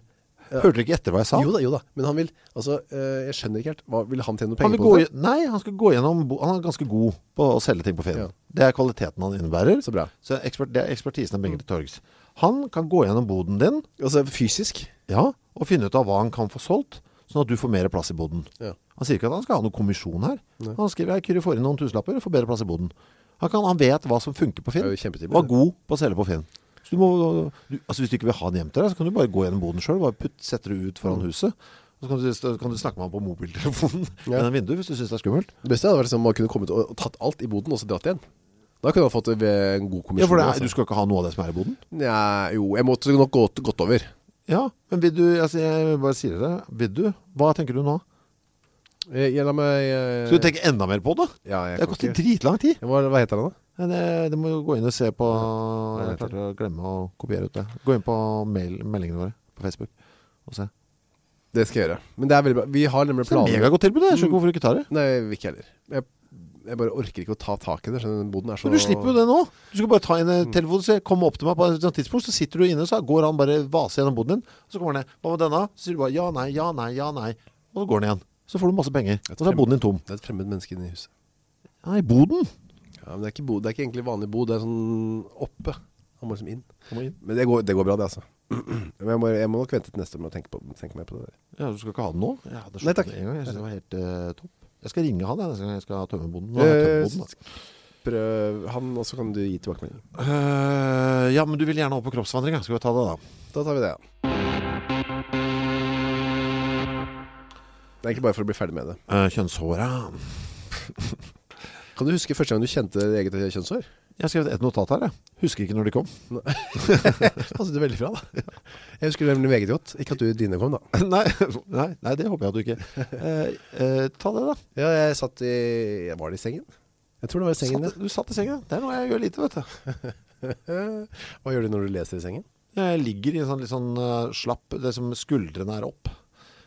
Speaker 1: Hørte dere ikke etter hva jeg sa?
Speaker 2: Jo da, jo da Men han vil Altså, eh, jeg skjønner ikke helt hva, Vil han tjene noe
Speaker 1: Han
Speaker 2: penger
Speaker 1: vil
Speaker 2: på
Speaker 1: gå,
Speaker 2: det?
Speaker 1: i- nei, han skal gå gjennom bo- Han er ganske god på å selge ting på
Speaker 2: Ja.
Speaker 1: ferien Det er kvaliteten han innebærer
Speaker 2: Så Mm. bra
Speaker 1: Så ekspert, det er ekspertisen er bringer til torgs Han kan gå gjennom boden din
Speaker 2: Altså, fysisk
Speaker 1: Ja, og finne ut av hva han kan få solgt Sånn at du får mer plass i boden
Speaker 2: Ja
Speaker 1: Han sier ikke at han skal ha noen kommisjon her
Speaker 2: Nei.
Speaker 1: Han skriver at Kyrre får inn noen tusenlapper og får bedre plass i boden han, kan, han vet hva som funker på Finn
Speaker 2: Det er jo kjempetilbud,
Speaker 1: Og er
Speaker 2: det.
Speaker 1: god på å selge på Finn Så du må, du, altså hvis du ikke vil ha den hjem til deg Så kan du bare gå gjennom boden selv Bare putt, setter du ut
Speaker 2: Mm.
Speaker 1: foran huset Og så kan du, så kan du snakke med han på mobiltelefonen
Speaker 2: Ja.
Speaker 1: Gjennom vinduet hvis du synes det er skummelt
Speaker 2: Det beste hadde vært liksom, om han kunne kommet og, og tatt alt i boden Og så dratt igjen Da kunne han fått det ved en god kommisjon
Speaker 1: Ja, for det er,
Speaker 2: altså.
Speaker 1: du skal ikke ha noe av det som er i boden
Speaker 2: Nei, jo Jeg måtte nok gått, gått over
Speaker 1: Ja, men vil du, altså jeg bare sier det Vil du, hva tenker du nå?
Speaker 2: Jeg, jeg la meg eh,
Speaker 1: Skal du tenke enda mer på det?
Speaker 2: Ja, jeg
Speaker 1: Det
Speaker 2: kan
Speaker 1: har gått
Speaker 2: ikke
Speaker 1: dritlang tid
Speaker 2: Jeg må- Hva heter han da?
Speaker 1: Men det, det må jo gå inn og se på
Speaker 2: Hva
Speaker 1: Jeg
Speaker 2: heter
Speaker 1: klarte å glemme å kopiere ut det Gå inn på mail, meldingene våre på Facebook Og se Det
Speaker 2: Det skal jeg gjøre Men det er veldig bra Vi har nemlig
Speaker 1: er
Speaker 2: planer
Speaker 1: megagodt tilbud, jeg skjønner ikke hvorfor du ikke tar det
Speaker 2: Nei, jeg vil ikke heller jeg, jeg bare orker ikke å ta tak i det Skjønner du, den boden er så
Speaker 1: Men du slipper jo det nå Du skal bare ta inn eh, telefonen og si Kom opp til meg på et sånt tidspunkt Så sitter du inne Så går han bare vase gjennom boden din Og så kommer han ned Hva med denne? Så sier du bare ja, nei, ja, nei, ja, nei Og så går han igjen Så får du masse penger Og så er boden din tom
Speaker 2: Det er et fremmed menneske inne i huset
Speaker 1: Nei, boden
Speaker 2: Ja, men det er ikke, bo, det er ikke egentlig vanlig bod Det er sånn oppe Han må liksom inn
Speaker 1: Kom inn
Speaker 2: Men det går, det går bra det altså Men jeg må, jeg må nok vente til neste år med å tenke, på, tenke mer på det der
Speaker 1: Ja, du skal ikke ha den nå? Jeg hadde
Speaker 2: Nei,
Speaker 1: skjønt
Speaker 2: takk.
Speaker 1: det en gang. Jeg synes det var helt eh, topp. Jeg skal ringe han jeg, neste gang jeg skal ha tømmerbonden. Nå har jeg
Speaker 2: Eh,
Speaker 1: tømmerbonden, da.
Speaker 2: Prøv han, og så kan du gi tilbakemelding
Speaker 1: Eh, ja, men du vil gjerne opp på kroppsvandring, ja. skal vi ta det da?
Speaker 2: Da tar vi det ja. Det er egentlig bare for å bli ferdig med det
Speaker 1: Uh, kjønnshåret.
Speaker 2: Kan du huske første gang du kjente ditt eget kjønnshår?
Speaker 1: Jeg har skrevet et notat her, jeg. Husker ikke når de kom.
Speaker 2: Passet du veldig fra da Jeg husker det veldig meget godt Ikke at du dine kom da
Speaker 1: nei, nei, nei, det håper jeg at du ikke. Eh, eh, ta det da.
Speaker 2: Ja, jeg satt i Var det i sengen? Jeg tror det var i sengen
Speaker 1: Satt, du satt i sengen, ja. det er noe jeg gjør lite, vet du.
Speaker 2: ja. Hva gjør du når du leser i sengen?
Speaker 1: Jeg ligger i en sånn litt sånn eh, slapp, det som skuldrene er opp.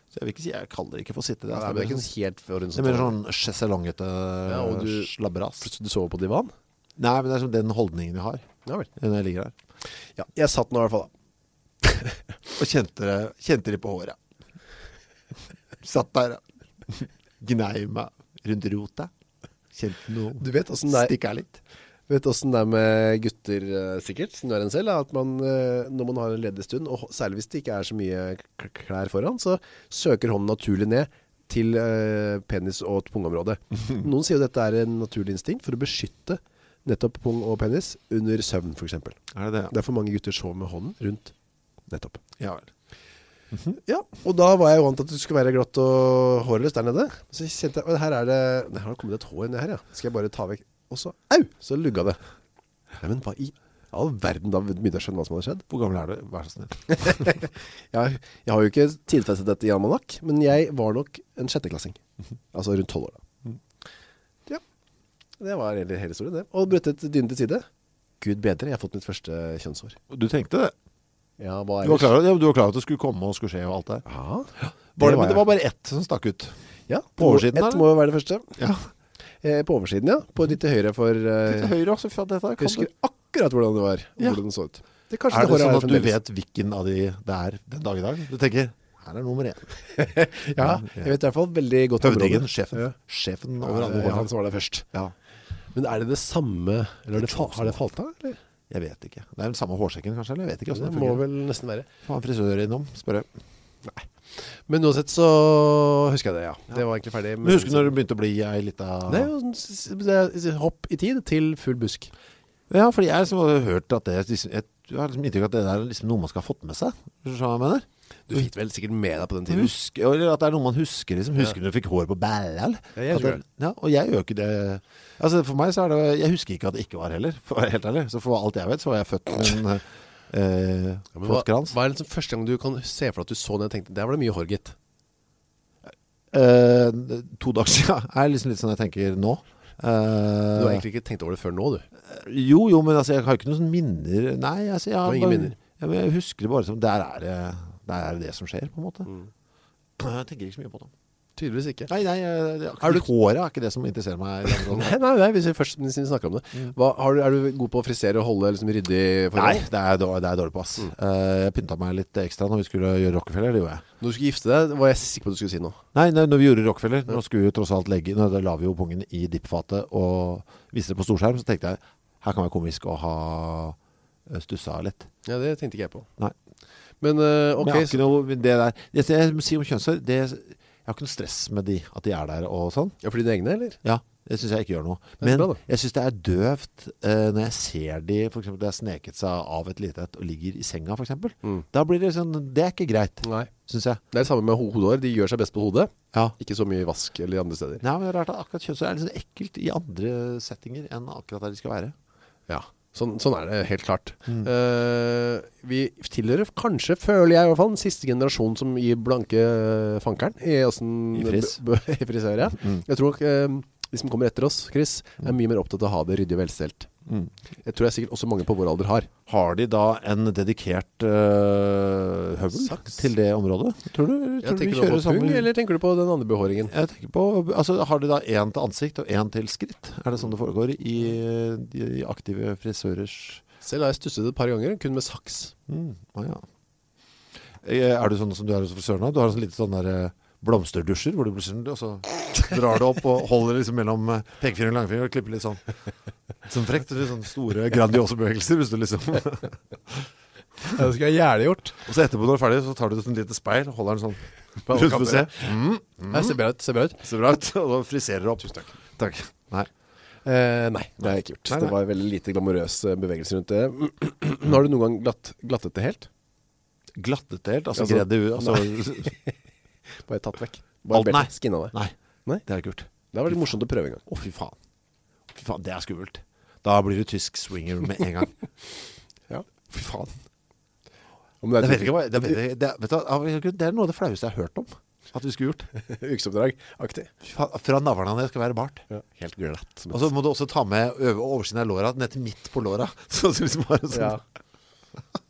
Speaker 1: Så jeg vil ikke si, jeg kaller det ikke for å sitte. Det
Speaker 2: Nei,
Speaker 1: er,
Speaker 2: men det er ikke sånn helt
Speaker 1: det er mer sånn sjeselongete ja,
Speaker 2: og du-
Speaker 1: slabberas.
Speaker 2: Du sover på divan?
Speaker 1: Nei, men det er sånn den holdningen jeg har
Speaker 2: Ja vel
Speaker 1: når jeg ligger her.
Speaker 2: Ja, jeg satt nå i hvert fall da
Speaker 1: Og kjente det, kjente det på håret Satt der Gnei meg rundt rota Kjente noe
Speaker 2: Du vet hvordan det er,
Speaker 1: Stikk her litt
Speaker 2: vet hvordan det er med gutter eh, sikkert, som du er en selv, er at man, eh, når man har en ledig stund, og særlig hvis det ikke er så mye k- klær foran, så søker hånden naturlig ned til eh, penis og pungområdet. Noen sier jo dette er en naturlig instinkt for å beskytte nettopp pung og penis under søvn, for eksempel.
Speaker 1: Er det det?
Speaker 2: Derfor mange gutter sover med hånden rundt nettopp.
Speaker 1: Ja vel
Speaker 2: Ja, og da var jeg jo vant til at du skulle være glatt og hårløs der nede. Så kjente jeg, «Å, her er det, nei, her har det kommet et hår ned her, ja. Skal jeg bare ta vekk? Og så, au, så lugga det. Nei, men hva i all verden da begynte jeg å skjønne hva som hadde skjedd?
Speaker 1: Hvor gammel er du? Vær så snill
Speaker 2: Jeg, jeg har jo ikke tidfestet dette i Almanak, men jeg var nok en sjetteklassing. Altså rundt tolv år da. Ja, det var egentlig hele historien det. Og brettet dynen til side. Gud bedre, jeg har fått mitt første kjønnshår.
Speaker 1: Du tenkte det
Speaker 2: Ja, hva
Speaker 1: Du var klar, over- ja, du var klar over at det skulle komme og skulle skje og alt det her
Speaker 2: Ja,
Speaker 1: var det, Men det
Speaker 2: jeg.
Speaker 1: var bare ett som stakk ut
Speaker 2: Ja,
Speaker 1: På oversiden,
Speaker 2: Ett
Speaker 1: eller?
Speaker 2: må jo være det første.
Speaker 1: Ja
Speaker 2: Eh, på oversiden, ja. På litt til høyre for eh,
Speaker 1: Til høyre også for at dette her
Speaker 2: Jeg
Speaker 1: kan
Speaker 2: husker
Speaker 1: du-
Speaker 2: akkurat hvordan det var, og
Speaker 1: Ja.
Speaker 2: hvordan det så ut. Det er kanskje
Speaker 1: Er det
Speaker 2: håret
Speaker 1: sånn
Speaker 2: her
Speaker 1: at du
Speaker 2: fremdeles.
Speaker 1: vet hvilken av de det er den dag i dag? Du tenker, her er nummer én
Speaker 2: Ja, jeg vet i hvert fall veldig godt område.
Speaker 1: Høvdingen, sjefen
Speaker 2: Ja.
Speaker 1: Sjefen
Speaker 2: Ja,
Speaker 1: over
Speaker 2: det
Speaker 1: alle
Speaker 2: var han
Speaker 1: hårene
Speaker 2: som var der først.
Speaker 1: Ja
Speaker 2: Men er det det samme, eller har det, fa- har det falt av, eller?
Speaker 1: Jeg vet ikke. Det er den samme hårsekken kanskje, eller jeg vet ikke altså.
Speaker 2: Det
Speaker 1: hvordan det
Speaker 2: må
Speaker 1: fungerer.
Speaker 2: vel nesten være.
Speaker 1: Få en frisør innom, spør jeg.
Speaker 2: Men uansett så husker jeg det, ja. Det var egentlig ferdig.
Speaker 1: Men husker du når du begynte å bli ei lita
Speaker 2: Det er jo en s- det er hopp i tid til full busk.
Speaker 1: Ja, fordi jeg liksom har hørt at det liksom, jeg, jeg har liksom inntrykk av at det der er liksom noe man skal ha fått med seg. Skjønner du hva jeg mener?
Speaker 2: Du fikk vel sikkert med deg på den
Speaker 1: Du husker, eller at det er noe man husker liksom. Husker du når du fikk hår på bælla? eller?
Speaker 2: Ja, jeg
Speaker 1: At
Speaker 2: husker
Speaker 1: det- Ja, og jeg gjør ikke det. Altså for meg så er det, jeg husker ikke at det ikke var heller, for å være helt ærlig. Så for alt jeg vet så var jeg født med en eh,
Speaker 2: Men
Speaker 1: flott
Speaker 2: hva,
Speaker 1: krans.
Speaker 2: hva er liksom første gang du kan se for deg at du så den og tenkte, der var det mye hår, gitt.
Speaker 1: Eh, to dager siden er liksom litt sånn jeg tenker nå.
Speaker 2: Du
Speaker 1: Uh,
Speaker 2: har egentlig ikke tenkt over det før nå, du.
Speaker 1: Jo, jo, men altså, jeg har ikke noen sånne minner Nei, altså, jeg, har
Speaker 2: Du har ingen
Speaker 1: bare-
Speaker 2: minner?
Speaker 1: Ja, men jeg
Speaker 2: Mm.
Speaker 1: husker det bare som Der er det der er det, det som skjer, på en måte Jeg tenker ikke så mye på det
Speaker 2: Tydeligvis ikke
Speaker 1: Nei, nei, eh, det er
Speaker 2: Er
Speaker 1: akkurat håret er ikke det som interesserer meg i det andre.
Speaker 2: Nei, nei, nei, hvis vi først siden vi snakker om det Hva, har du, Er du god på å frisere og holde liksom, ryddig
Speaker 1: Mm. Nei,
Speaker 2: forhold?
Speaker 1: det er, dår- det er dårlig på
Speaker 2: Mm.
Speaker 1: ass Eh, Jeg pynta meg litt ekstra når vi skulle gjøre Rockefeller Det gjorde jeg
Speaker 2: Når du skulle gifte deg, var jeg sikker på at du skulle si noe
Speaker 1: Nei, nei, når vi gjorde Rockefeller Nå skulle vi jo tross alt legge Nå da la vi jo pungen i dippfatet Og viste det på storskjerm Så tenkte jeg Her kan være komisk å ha eh, stussa litt
Speaker 2: Ja, det tenkte ikke jeg på
Speaker 1: Nei
Speaker 2: Men eh, ok
Speaker 1: Men jeg har
Speaker 2: så,
Speaker 1: ikke noe Det der Jeg, jeg må si om kjønnshår det, Jeg har ikke noe stress med de At de er der og sånn
Speaker 2: Ja, for dine egne, eller?
Speaker 1: Ja det synes jeg ikke gjør noe
Speaker 2: er så
Speaker 1: Men
Speaker 2: bra, da.
Speaker 1: jeg synes det er døvt eh, Når jeg ser de For eksempel det har sneket seg av et lite et Og ligger i senga for eksempel
Speaker 2: Mm.
Speaker 1: Da blir det sånn Det er ikke greit
Speaker 2: Nei
Speaker 1: Synes jeg
Speaker 2: Det er det samme med ho hodehår De gjør seg best på hodet
Speaker 1: Ja
Speaker 2: Ikke så mye i vask eller andre steder
Speaker 1: Nei, men det er rart at akkurat kjønnshår er litt sånn ekkelt i andre settinger enn akkurat der de skal være.
Speaker 2: Ja, sånn, sånn er det helt klart
Speaker 1: Mm.
Speaker 2: Eh, Vi tilhører kanskje, føler jeg i hvert fall Den siste generasjon som gir blanke eh, fankeren I, hvordan-
Speaker 1: I fris. Mm.
Speaker 2: b- b- I frisør, ja Jeg tror nok eh, de som kommer etter oss, Chris Er mye mer opptatt av å ha det ryddig og velstelt
Speaker 1: Mm.
Speaker 2: Jeg tror jeg sikkert også mange på vår alder har
Speaker 1: Har de da en dedikert øh, høvel
Speaker 2: Saks.
Speaker 1: til det området? Tror du, tror du de
Speaker 2: du
Speaker 1: kjører
Speaker 2: på pung,
Speaker 1: sammen?
Speaker 2: eller tenker du på den andre behåringen?
Speaker 1: Jeg tenker på, altså har de da en til ansikt og en til skritt? Er det sånn det foregår i øh, de aktive frisørers?
Speaker 2: Selv har jeg stusset et par ganger, kun med saks
Speaker 1: Mm, ah, ja. Eh, Er du sånn som du er hos frisøren nå? Du har en sånn liten sånn der eh, blomsterdusjer hvor du blir sunn, og så drar du opp og holder liksom mellom eh, pekefinger og langfinger og klipper litt sånn. Sånn frekt, litt sånn store, grandiose bevegelser hvis du liksom. Og
Speaker 2: Det skulle jeg gjerne gjort
Speaker 1: så etterpå når du er ferdig, så tar du et sånn lite speil og holder den sånn. Rundt for å se. Mm,
Speaker 2: Ser bra ut, ser bra ut
Speaker 1: ser bra ut, og da friserer du opp. Tusen takk. Takk. Nei.
Speaker 2: Eh, nei, det har jeg ikke gjort
Speaker 1: Nei, nei.
Speaker 2: Det var veldig lite glamorøs eh, bevegelse rundt det Har du noen gang glatt, glattet det helt?
Speaker 1: Glattet det helt, altså,
Speaker 2: Altså,
Speaker 1: gredde ut, altså,
Speaker 2: Bare tatt vekk
Speaker 1: Alt,
Speaker 2: Bare
Speaker 1: nei.
Speaker 2: belt, skinna det
Speaker 1: nei,
Speaker 2: Nei.
Speaker 1: det har jeg ikke gjort.
Speaker 2: Det var litt morsomt å prøve en gang
Speaker 1: Å fy faen, fy faen, det er skummelt. Da blir du tysk swinger med en gang.
Speaker 2: ja.
Speaker 1: Fy faen.
Speaker 2: Om det
Speaker 1: Jeg
Speaker 2: er
Speaker 1: vet ikke hva det, vet, jeg- det, vet du, hva, av en eller annen grunn, det er noe av det flaueste jeg har hørt om At vi skulle gjort
Speaker 2: et ukesoppdrag-aktig
Speaker 1: Fy faen, Fra navlene ned skal være bart
Speaker 2: Helt glatt som
Speaker 1: Og så må du også ta med øver, oversiden av låra Ned til midt på låra Så du liksom har en
Speaker 2: et-
Speaker 1: sånn
Speaker 2: Ja.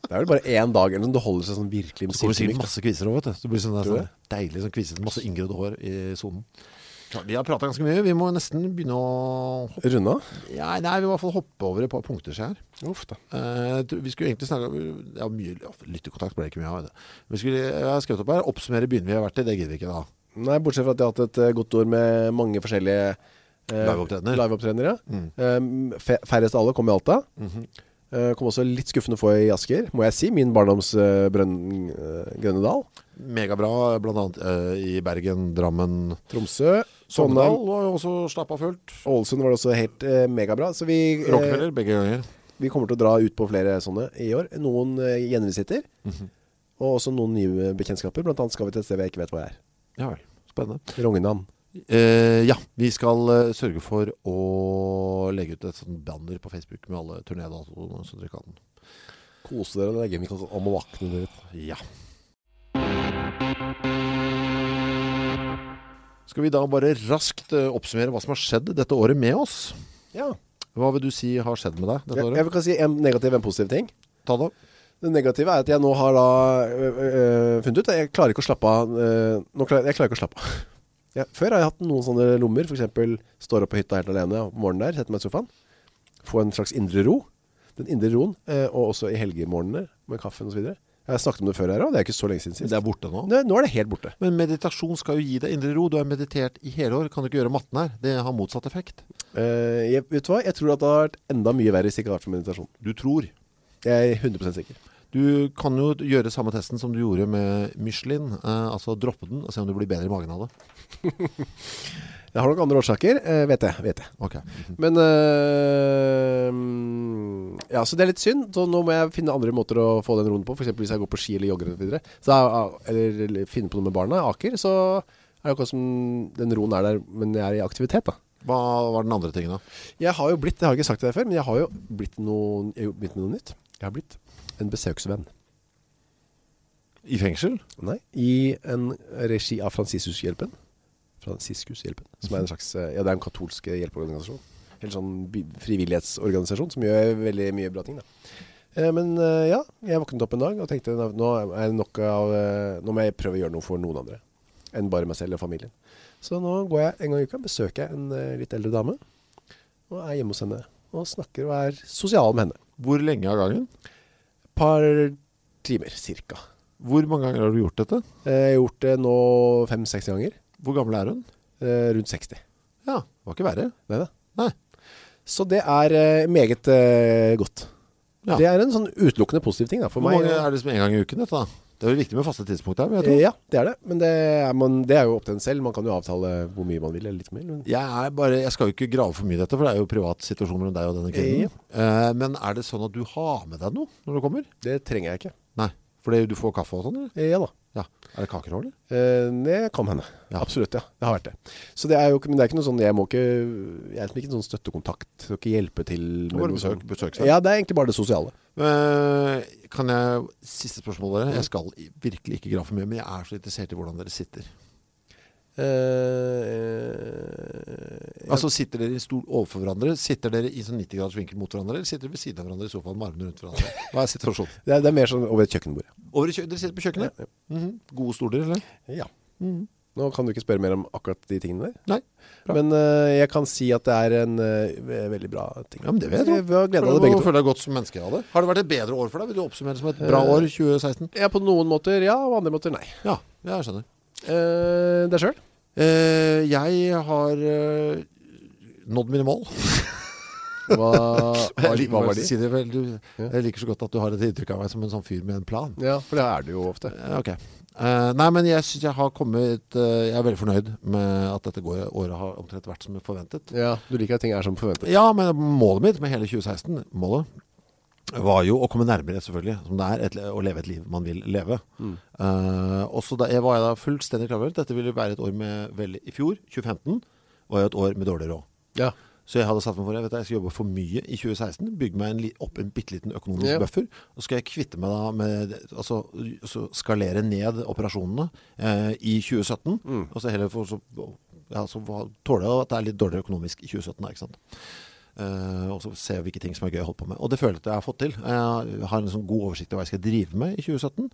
Speaker 2: Det er vel bare en dag eller noe Det holder seg sånn virkelig
Speaker 1: Så kommer det sikkert
Speaker 2: silkemykt.
Speaker 1: masse kviser over, vet du Så det blir sånn, der,
Speaker 2: Tror du
Speaker 1: sånn deilig sånn kviset Masse inngrødd hår i zonen Klart, Vi har pratet ganske mye Vi må nesten begynne å hoppe
Speaker 2: Runda
Speaker 1: ja, Nei, vi må i hvert fall hoppe over et par punkter seg her
Speaker 2: Uff da
Speaker 1: Eh, tror- vi skulle egentlig snakke om ja, mye, ja, Lyttekontakt ble det ikke mye av vet du. Vi skulle, jeg har skrevet opp her Oppsummere byen vi har vært i, det gidder vi ikke da
Speaker 2: Nei, bortsett fra at jeg har hatt et eh, godt år med mange forskjellige eh,
Speaker 1: Liveopptredener. Mm.
Speaker 2: liveopptredener, ja Eh, fe- Færrest av alle kom i Alta
Speaker 1: Mhm.
Speaker 2: Eh, Kom også litt skuffende få i Asker Må jeg si, min barndoms eh, brønn, eh, Grønnedal
Speaker 1: Megabra, blant annet eh, i Bergen, Drammen
Speaker 2: Tromsø
Speaker 1: Sogndal
Speaker 2: Sogndal
Speaker 1: var jo også slappa fullt
Speaker 2: Ålesund var det også helt eh, megabra Så vi, eh,
Speaker 1: Rockefeller begge ganger
Speaker 2: vi kommer til å dra ut på flere sånne i år Noen eh, gjenvisitter Og også noen nye bekjennskaper Blant annet skal vi til et sted jeg ikke vet hva er
Speaker 1: Ja vel, spennende
Speaker 2: Rongedam
Speaker 1: eh, Ja, vi skal eh, sørge for å legge ut et sånt banner på Facebook Med alle turnédatoene som dere kan
Speaker 2: Kose dere og legge meg om å vakne dere
Speaker 1: Ja Skal vi da bare raskt eh, oppsummere hva som har skjedd dette året med oss?
Speaker 2: Ja,
Speaker 1: Hva vil du si har skjedd med deg dette
Speaker 2: jeg,
Speaker 1: året?
Speaker 2: jeg vil kan si en negativ og en positiv ting
Speaker 1: Ta det
Speaker 2: Det negative er at jeg nå har da øh, øh, funnet ut at jeg klarer ikke å slappe av. øh, nå klarer, jeg klarer ikke å slappe av. Ja, før har jeg hatt noen sånne lommer, for eksempel står opp på hytta helt alene om morgenen der, setter meg i sofaen, får en slags indre ro, den indre roen, øh, og også i helgemorgenene med kaffen og så videre. Jeg har snakket om det før her også, det er ikke så lenge siden sist.
Speaker 1: Det er borte nå
Speaker 2: Nå, nå er det helt borte.
Speaker 1: Men meditasjon skal jo gi deg indre ro Du har meditert i hele år Kan du ikke gjøre matten her? Det har motsatt effekt
Speaker 2: Eh, jeg, vet du hva? Jeg tror at det har vært enda mye verre hvis det ikke hadde vært for meditasjon.
Speaker 1: Du tror
Speaker 2: Jeg er 100% sikker.
Speaker 1: Du kan jo gjøre samme testen som du gjorde med Michelin eh, Altså droppe den og se om du blir bedre i magen av det
Speaker 2: Jeg har nok andre årsaker, eh, vet jeg, vet jeg.
Speaker 1: Ok
Speaker 2: Men øh, Ja, så det er litt synd Så nå må jeg finne andre måter å få den roen på For eksempel hvis jeg går på ski eller jogger og så videre så, er- Eller eller finne på noe med barna Aker, så er det akkurat som Den roen er der, men jeg er i aktivitet da
Speaker 1: Hva var den andre tingen da?
Speaker 2: Jeg har jo blitt, det har jeg ikke sagt til deg før Men jeg har jo blitt, noe, jeg har jo blitt med noe nytt Jeg har blitt en besøksvenn
Speaker 1: I fengsel?
Speaker 2: Nei, i en regi av Fransiskushjelpen Fransiskushjelpen Som er en slags, eh, ja det er en katolsk hjelpeorganisasjon Helt sånn by- frivillighetsorganisasjon Som gjør veldig mye bra ting da Eh, Men eh, ja, jeg våknet opp en dag Og tenkte "Nå- nå er det nok av eh, Nå må jeg prøve å gjøre noe for noen andre enn bare meg selv og familien. Så nå går jeg en gang i uka, besøker jeg en eh, litt eldre dame, og er hjemme hos henne, og snakker og er sosial med henne.
Speaker 1: Hvor lenge av gangen?
Speaker 2: Par timer, cirka.
Speaker 1: Hvor mange ganger har du gjort dette?
Speaker 2: Eh, Jeg har gjort det nå fem-seks ganger,
Speaker 1: Hvor gammel er hun?
Speaker 2: eh, rundt 60.
Speaker 1: Ja, det var ikke verre
Speaker 2: Neida.
Speaker 1: Nei,
Speaker 2: Så det er eh, meget eh, godt.
Speaker 1: Ja.
Speaker 2: Det er en sånn utelukkende positiv ting da, for
Speaker 1: hvor
Speaker 2: meg.
Speaker 1: mange eh, er det som en gang i uken dette da? Det er jo viktig med faste tidspunkt her, vil jeg tro
Speaker 2: Eh, Ja, det er det, men det er, man, det er jo opp til en selv. Man kan jo avtale hvor mye man vil, eller litt mer. men-
Speaker 1: Jeg, er bare, jeg skal jo ikke grave for mye i dette, for det er jo privat situasjon mellom deg og denne kvinnen. Eh, men er det sånn at du har med deg noe når du kommer?
Speaker 2: Det trenger jeg ikke.
Speaker 1: Nei, for det, du får kaffe og sånn, eller?
Speaker 2: Eh, Ja da,
Speaker 1: Ja. Er det kaker også, eller?
Speaker 2: Eh, det kan hende.
Speaker 1: Ja.
Speaker 2: Absolutt, ja. Det har vært det. Så det er jo ikke, men det er ikke noe sånn, jeg må ikke, jeg er liksom ikke en sånn støttekontakt, skal ikke hjelpe til.
Speaker 1: Det er
Speaker 2: med
Speaker 1: bare
Speaker 2: noe
Speaker 1: besøk,
Speaker 2: sånn.
Speaker 1: besøksdag.
Speaker 2: Ja, det er egentlig bare det sosiale.
Speaker 1: Eh, kan jeg, siste spørsmål dere, jeg skal i- virkelig ikke grave for mye, men jeg er så interessert i hvordan dere sitter.
Speaker 2: Eh, eh,
Speaker 1: Altså, sitter dere i stol overfor hverandre? Sitter dere i sånn 90 graders vinkel mot hverandre? Eller sitter dere ved siden av hverandre i sofaen med armene rundt hverandre? Hva er situasjonen?
Speaker 2: det, er, det er mer sånn over et kjøkkenbord.
Speaker 1: Over i kjø dere sitter på kjøkkenet? Mhm. Gode stoler, eller?
Speaker 2: Ja. Nå kan du ikke spørre mer om akkurat de tingene der.
Speaker 1: Nei. Bra.
Speaker 2: Men eh, jeg kan si at det er en eh, ve- veldig bra ting.
Speaker 1: Ja, men det vet jeg.
Speaker 2: Vi har glede av det begge to.
Speaker 1: Føler deg godt som menneske av det. Har det vært et bedre år for deg? Vil du oppsummere det som et bra år 2016?
Speaker 2: Ja, på noen måter ja, og på andre måter nei.
Speaker 1: Eh, Ja, jeg skjønner.
Speaker 2: Uh, det selv?
Speaker 1: Eh, jeg har eh, nådd mine mål.
Speaker 2: Hva, hva,
Speaker 1: Jeg liker-
Speaker 2: hva var de?
Speaker 1: Si det vel, du, jeg liker så godt at du har et inntrykk av meg som en sånn fyr med en plan.
Speaker 2: Ja, for det er det jo ofte.
Speaker 1: Eh, ok. Eh, nei, men jeg synes jeg har kommet, eh, jeg er veldig fornøyd med at dette går, året har omtrent vært som forventet.
Speaker 2: Ja, du liker at ting er som forventet.
Speaker 1: Ja, men målet mitt med hele 2016, målet, var jo å komme nærmere selvfølgelig, som det er, et, le- å leve et liv man vil leve. Eh, og så da, jeg var jeg da fullstendig klar over, at dette ville være et år med, vel, i fjor, 2015, var jo et år med dårlig råd.
Speaker 2: Ja.
Speaker 1: Så jeg hadde satt meg for, jeg vet du, jeg skal jobbe for mye i 2016, bygge meg en, li- opp en bitteliten økonomisk
Speaker 2: Ja.
Speaker 1: buffer, og så skal jeg kvitte meg da med, altså så skalere ned operasjonene eh, i 2017,
Speaker 2: Mm.
Speaker 1: og så heller for, så, ja, så hva- tåler jeg at det er litt dårligere økonomisk i 2017, da, ikke sant? Eh, og så se hvilke ting som er gøy å holde på med Og det føler jeg at jeg har fått til Jeg har en sånn god oversikt over hva jeg skal drive med i 2017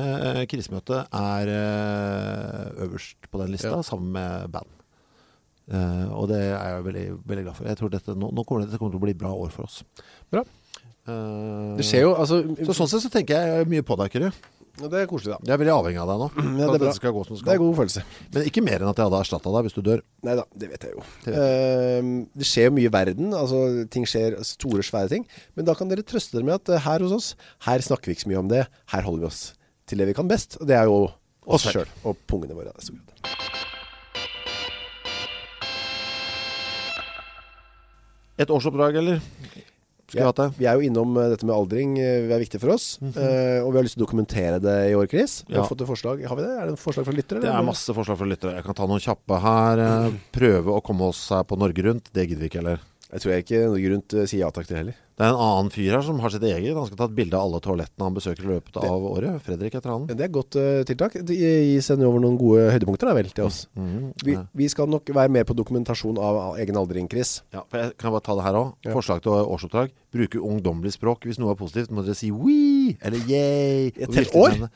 Speaker 1: Eh, Krisemøtet er eh, øverst på den lista
Speaker 2: Ja.
Speaker 1: Sammen med band Eh, og det er jeg veldig, veldig glad for. Jeg tror dette, nå, nå kommer det, dette kommer til å bli bra år for oss.
Speaker 2: Bra.
Speaker 1: Eh,
Speaker 2: Det skjer jo, altså,
Speaker 1: så sånn sett så tenker jeg mye på deg, Kyrre.
Speaker 2: det er koselig da.
Speaker 1: Jeg er veldig avhengig av deg nå.
Speaker 2: Ja,
Speaker 1: for
Speaker 2: det
Speaker 1: at
Speaker 2: er bra.
Speaker 1: dette skal gå som det
Speaker 2: sånn. Det er
Speaker 1: skal.
Speaker 2: en god følelse.
Speaker 1: Men ikke mer enn at jeg hadde erstatta deg hvis du dør.
Speaker 2: Neida, det vet jeg jo.
Speaker 1: Det vet
Speaker 2: Ehm, det skjer jo mye i verden, altså ting skjer, store, svære ting, men da kan dere trøste dere med at eh, her hos oss, her snakker vi ikke så mye om det, her holder vi oss til det vi kan best, og det er jo oss
Speaker 1: selv.
Speaker 2: selv, og pungene våre. i stor grad.
Speaker 1: Et årsoppdrag, eller? Skulle jeg hatt det?
Speaker 2: Vi er jo innom eh, dette med aldring, eh, det er viktig for oss, eh, og vi har lyst til å dokumentere det i år, Chris. Vi
Speaker 1: Mhm. Ja.
Speaker 2: har fått et forslag, har vi det? Er det en forslag fra lytter?
Speaker 1: Det er masse forslag fra lyttere. Jeg kan ta noen kjappe her. eh, Prøve å komme oss her på Norge Rundt. Det gidder vi ikke, heller.
Speaker 2: Jeg tror jeg ikke noe grunn til å si ja takk til heller.
Speaker 1: Det er en annen fyr her som har sitt eget. Han skal ta et bilde av alle toalettene han besøker i løpet av året. Fredrik heter han.
Speaker 2: Men det er et godt eh, tiltak. De de sender over noen gode høydepunkter da vel til oss.
Speaker 1: Mhm.
Speaker 2: Vi, vi skal nok være mer på dokumentasjon av av egen aldring, Chris.
Speaker 1: Ja, for jeg kan bare ta det her også
Speaker 2: Ja.
Speaker 1: Forslag til årsoppdrag Bruke ungdommelig språk Hvis noe er positivt Må dere si «wee» Eller «yay»
Speaker 2: Et
Speaker 1: og
Speaker 2: helt
Speaker 1: vifte med
Speaker 2: år?
Speaker 1: hendene.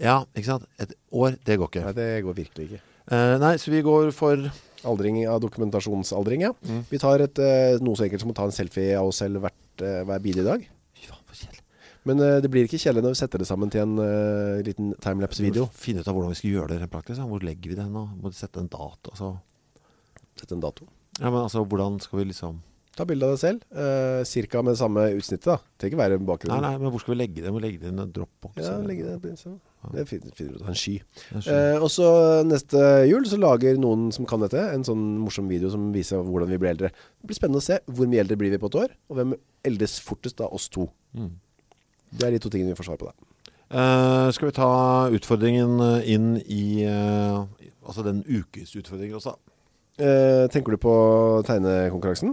Speaker 1: Ja, ikke sant? Et år, det går ikke
Speaker 2: Nei, det går virkelig ikke.
Speaker 1: Eh, Nei, så vi går for
Speaker 2: Aldring av dokumentasjonsaldring, ja. Vi tar et, eh, noe så enkelt som å ta en selfie av oss selv hvert, eh, hver bil i dag.
Speaker 1: Fy faen, for kjedelig
Speaker 2: Men eh, det blir ikke kjedelig når vi setter det sammen til en eh, liten timelapse-video.
Speaker 1: Finne ut av hvordan vi skal gjøre det rent praktisk ja. Hvor legger vi den og Må sette en dato altså.
Speaker 2: Sett en dato.
Speaker 1: Ja, men altså, hvordan skal vi liksom
Speaker 2: Ta bilde av deg selv, eh, cirka med samme utsnittet da. Det trenger ikke være
Speaker 1: Nei,
Speaker 2: bakgrunnen.
Speaker 1: nei, men hvor skal vi legge det? Må vi legge det i en dropbox
Speaker 2: Ja,
Speaker 1: eller?
Speaker 2: legge det sånn. Det finner finner du ut av en sky.
Speaker 1: En sky.
Speaker 2: Eh, og så neste jul så lager noen som kan dette, en sånn morsom video som viser hvordan vi blir eldre. Det blir spennende å se hvor mye eldre blir vi på et år, og hvem eldes fortest av oss to. Det er de to tingene vi får svar på da.
Speaker 1: Mm. Eh, Skal vi ta utfordringen eh, inn i eh, Altså den ukesutfordringen også da
Speaker 2: Eh, tenker du på tegnekonkurransen?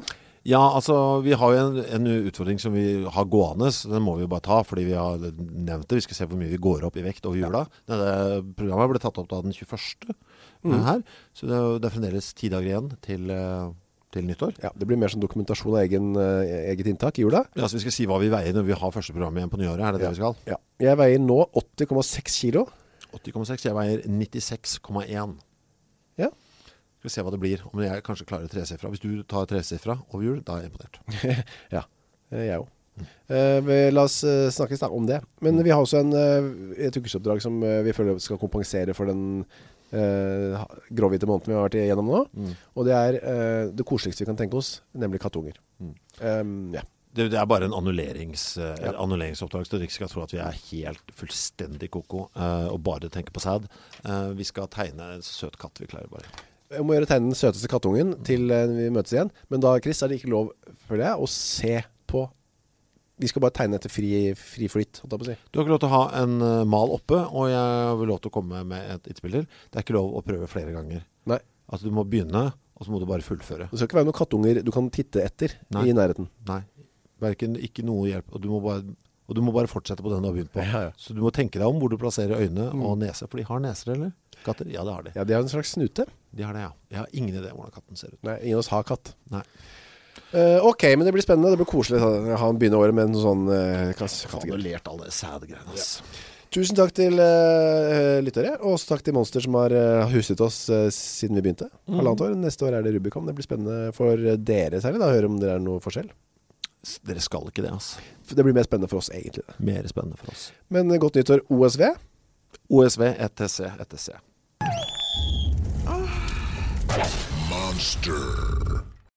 Speaker 1: Ja, altså, vi har jo en, en utfordring som vi har gående, så den må vi jo bare ta, fordi vi har nevnt det. Vi skal se hvor mye vi går opp i vekt over jula. Dette programmet ble tatt opp da den 21. her, så det er, jo- det er fremdeles ti dager igjen til, eh, til nyttår.
Speaker 2: Ja, det blir mer sånn dokumentasjon av egen, eh, eget inntak i jula.
Speaker 1: Ja, så vi skal si hva vi veier når vi har første programmet igjen på nyåret, er det det vi skal?
Speaker 2: Ja. Jeg veier nå 80,6 kilo.
Speaker 1: 80,6 Jeg veier 96,1
Speaker 2: Ja.
Speaker 1: Skal vi se hva det blir Om jeg kanskje klarer tresifra Hvis du tar tresifra over jul Da er jeg imponert
Speaker 2: Ja, eh, jeg òg. Eh, vi- la oss eh, snakkes da om det. Men vi har også en, eh, et ukesoppdrag som eh, vi føler skal kompensere for den eh, ha- gråhvite måneden vi har vært igjennom nå. Og det er eh, det koseligste vi kan tenke oss, nemlig kattunger. Eh, ja.
Speaker 1: Det, det er bare en annullerings, eh, eller annulleringsoppdrag, så dere ikke skal tro at vi er helt fullstendig koko eh, og bare tenker på sæd. Eh, vi skal tegne en søt katt, vi klarer bare.
Speaker 2: Jeg må gjøre tegne den søteste kattungen til eh, vi møtes igjen. Men da, Chris, er det ikke lov, føler jeg, å se på Vi skal bare tegne etter fri, fri flyt, holdt jeg på å si.
Speaker 1: Du har ikke lov til å ha en eh, mal oppe, og jeg vil lov til å komme med et innspiller. Det er ikke lov å prøve flere ganger.
Speaker 2: Nei.
Speaker 1: Altså, du må begynne, og så må du bare fullføre.
Speaker 2: Det skal ikke være noen kattunger du kan titte etter
Speaker 1: Nei.
Speaker 2: i nærheten.
Speaker 1: Nei, hverken ikke noe hjelp, og du må bare... Og du må bare fortsette på den du har begynt på.
Speaker 2: Ja, Mm. ja.
Speaker 1: Så du må tenke deg om hvor du plasserer øynene og nese. For de har neser, eller? Katter? Ja, det har de.
Speaker 2: Ja, de har en slags snute.
Speaker 1: De har det, ja. Jeg har ingen idé om hvordan katten ser ut.
Speaker 2: Nei, ingen av oss har katt.
Speaker 1: Nei.
Speaker 2: Eh, ok, men det blir spennende. Det blir koselig å ha en begynne året med en sånn eh, kass- kattegreier.
Speaker 1: Annullert all det sædgreiene, ass.
Speaker 2: Tusen takk til eh, lyttere, og også takk til Monster som har eh, huset oss eh, siden vi begynte. Halvannet år. Neste år er det Rubicon. Det blir spennende for eh, dere særlig, da, å høre om det er noe forskjell.
Speaker 1: S- Dere skal ikke det, ass.
Speaker 2: Det blir mer spennende for oss egentlig det.
Speaker 1: Mer spennende for oss.
Speaker 2: Men eh, godt nyttår OSV
Speaker 1: OSV, ETC, ETC.
Speaker 3: Monster.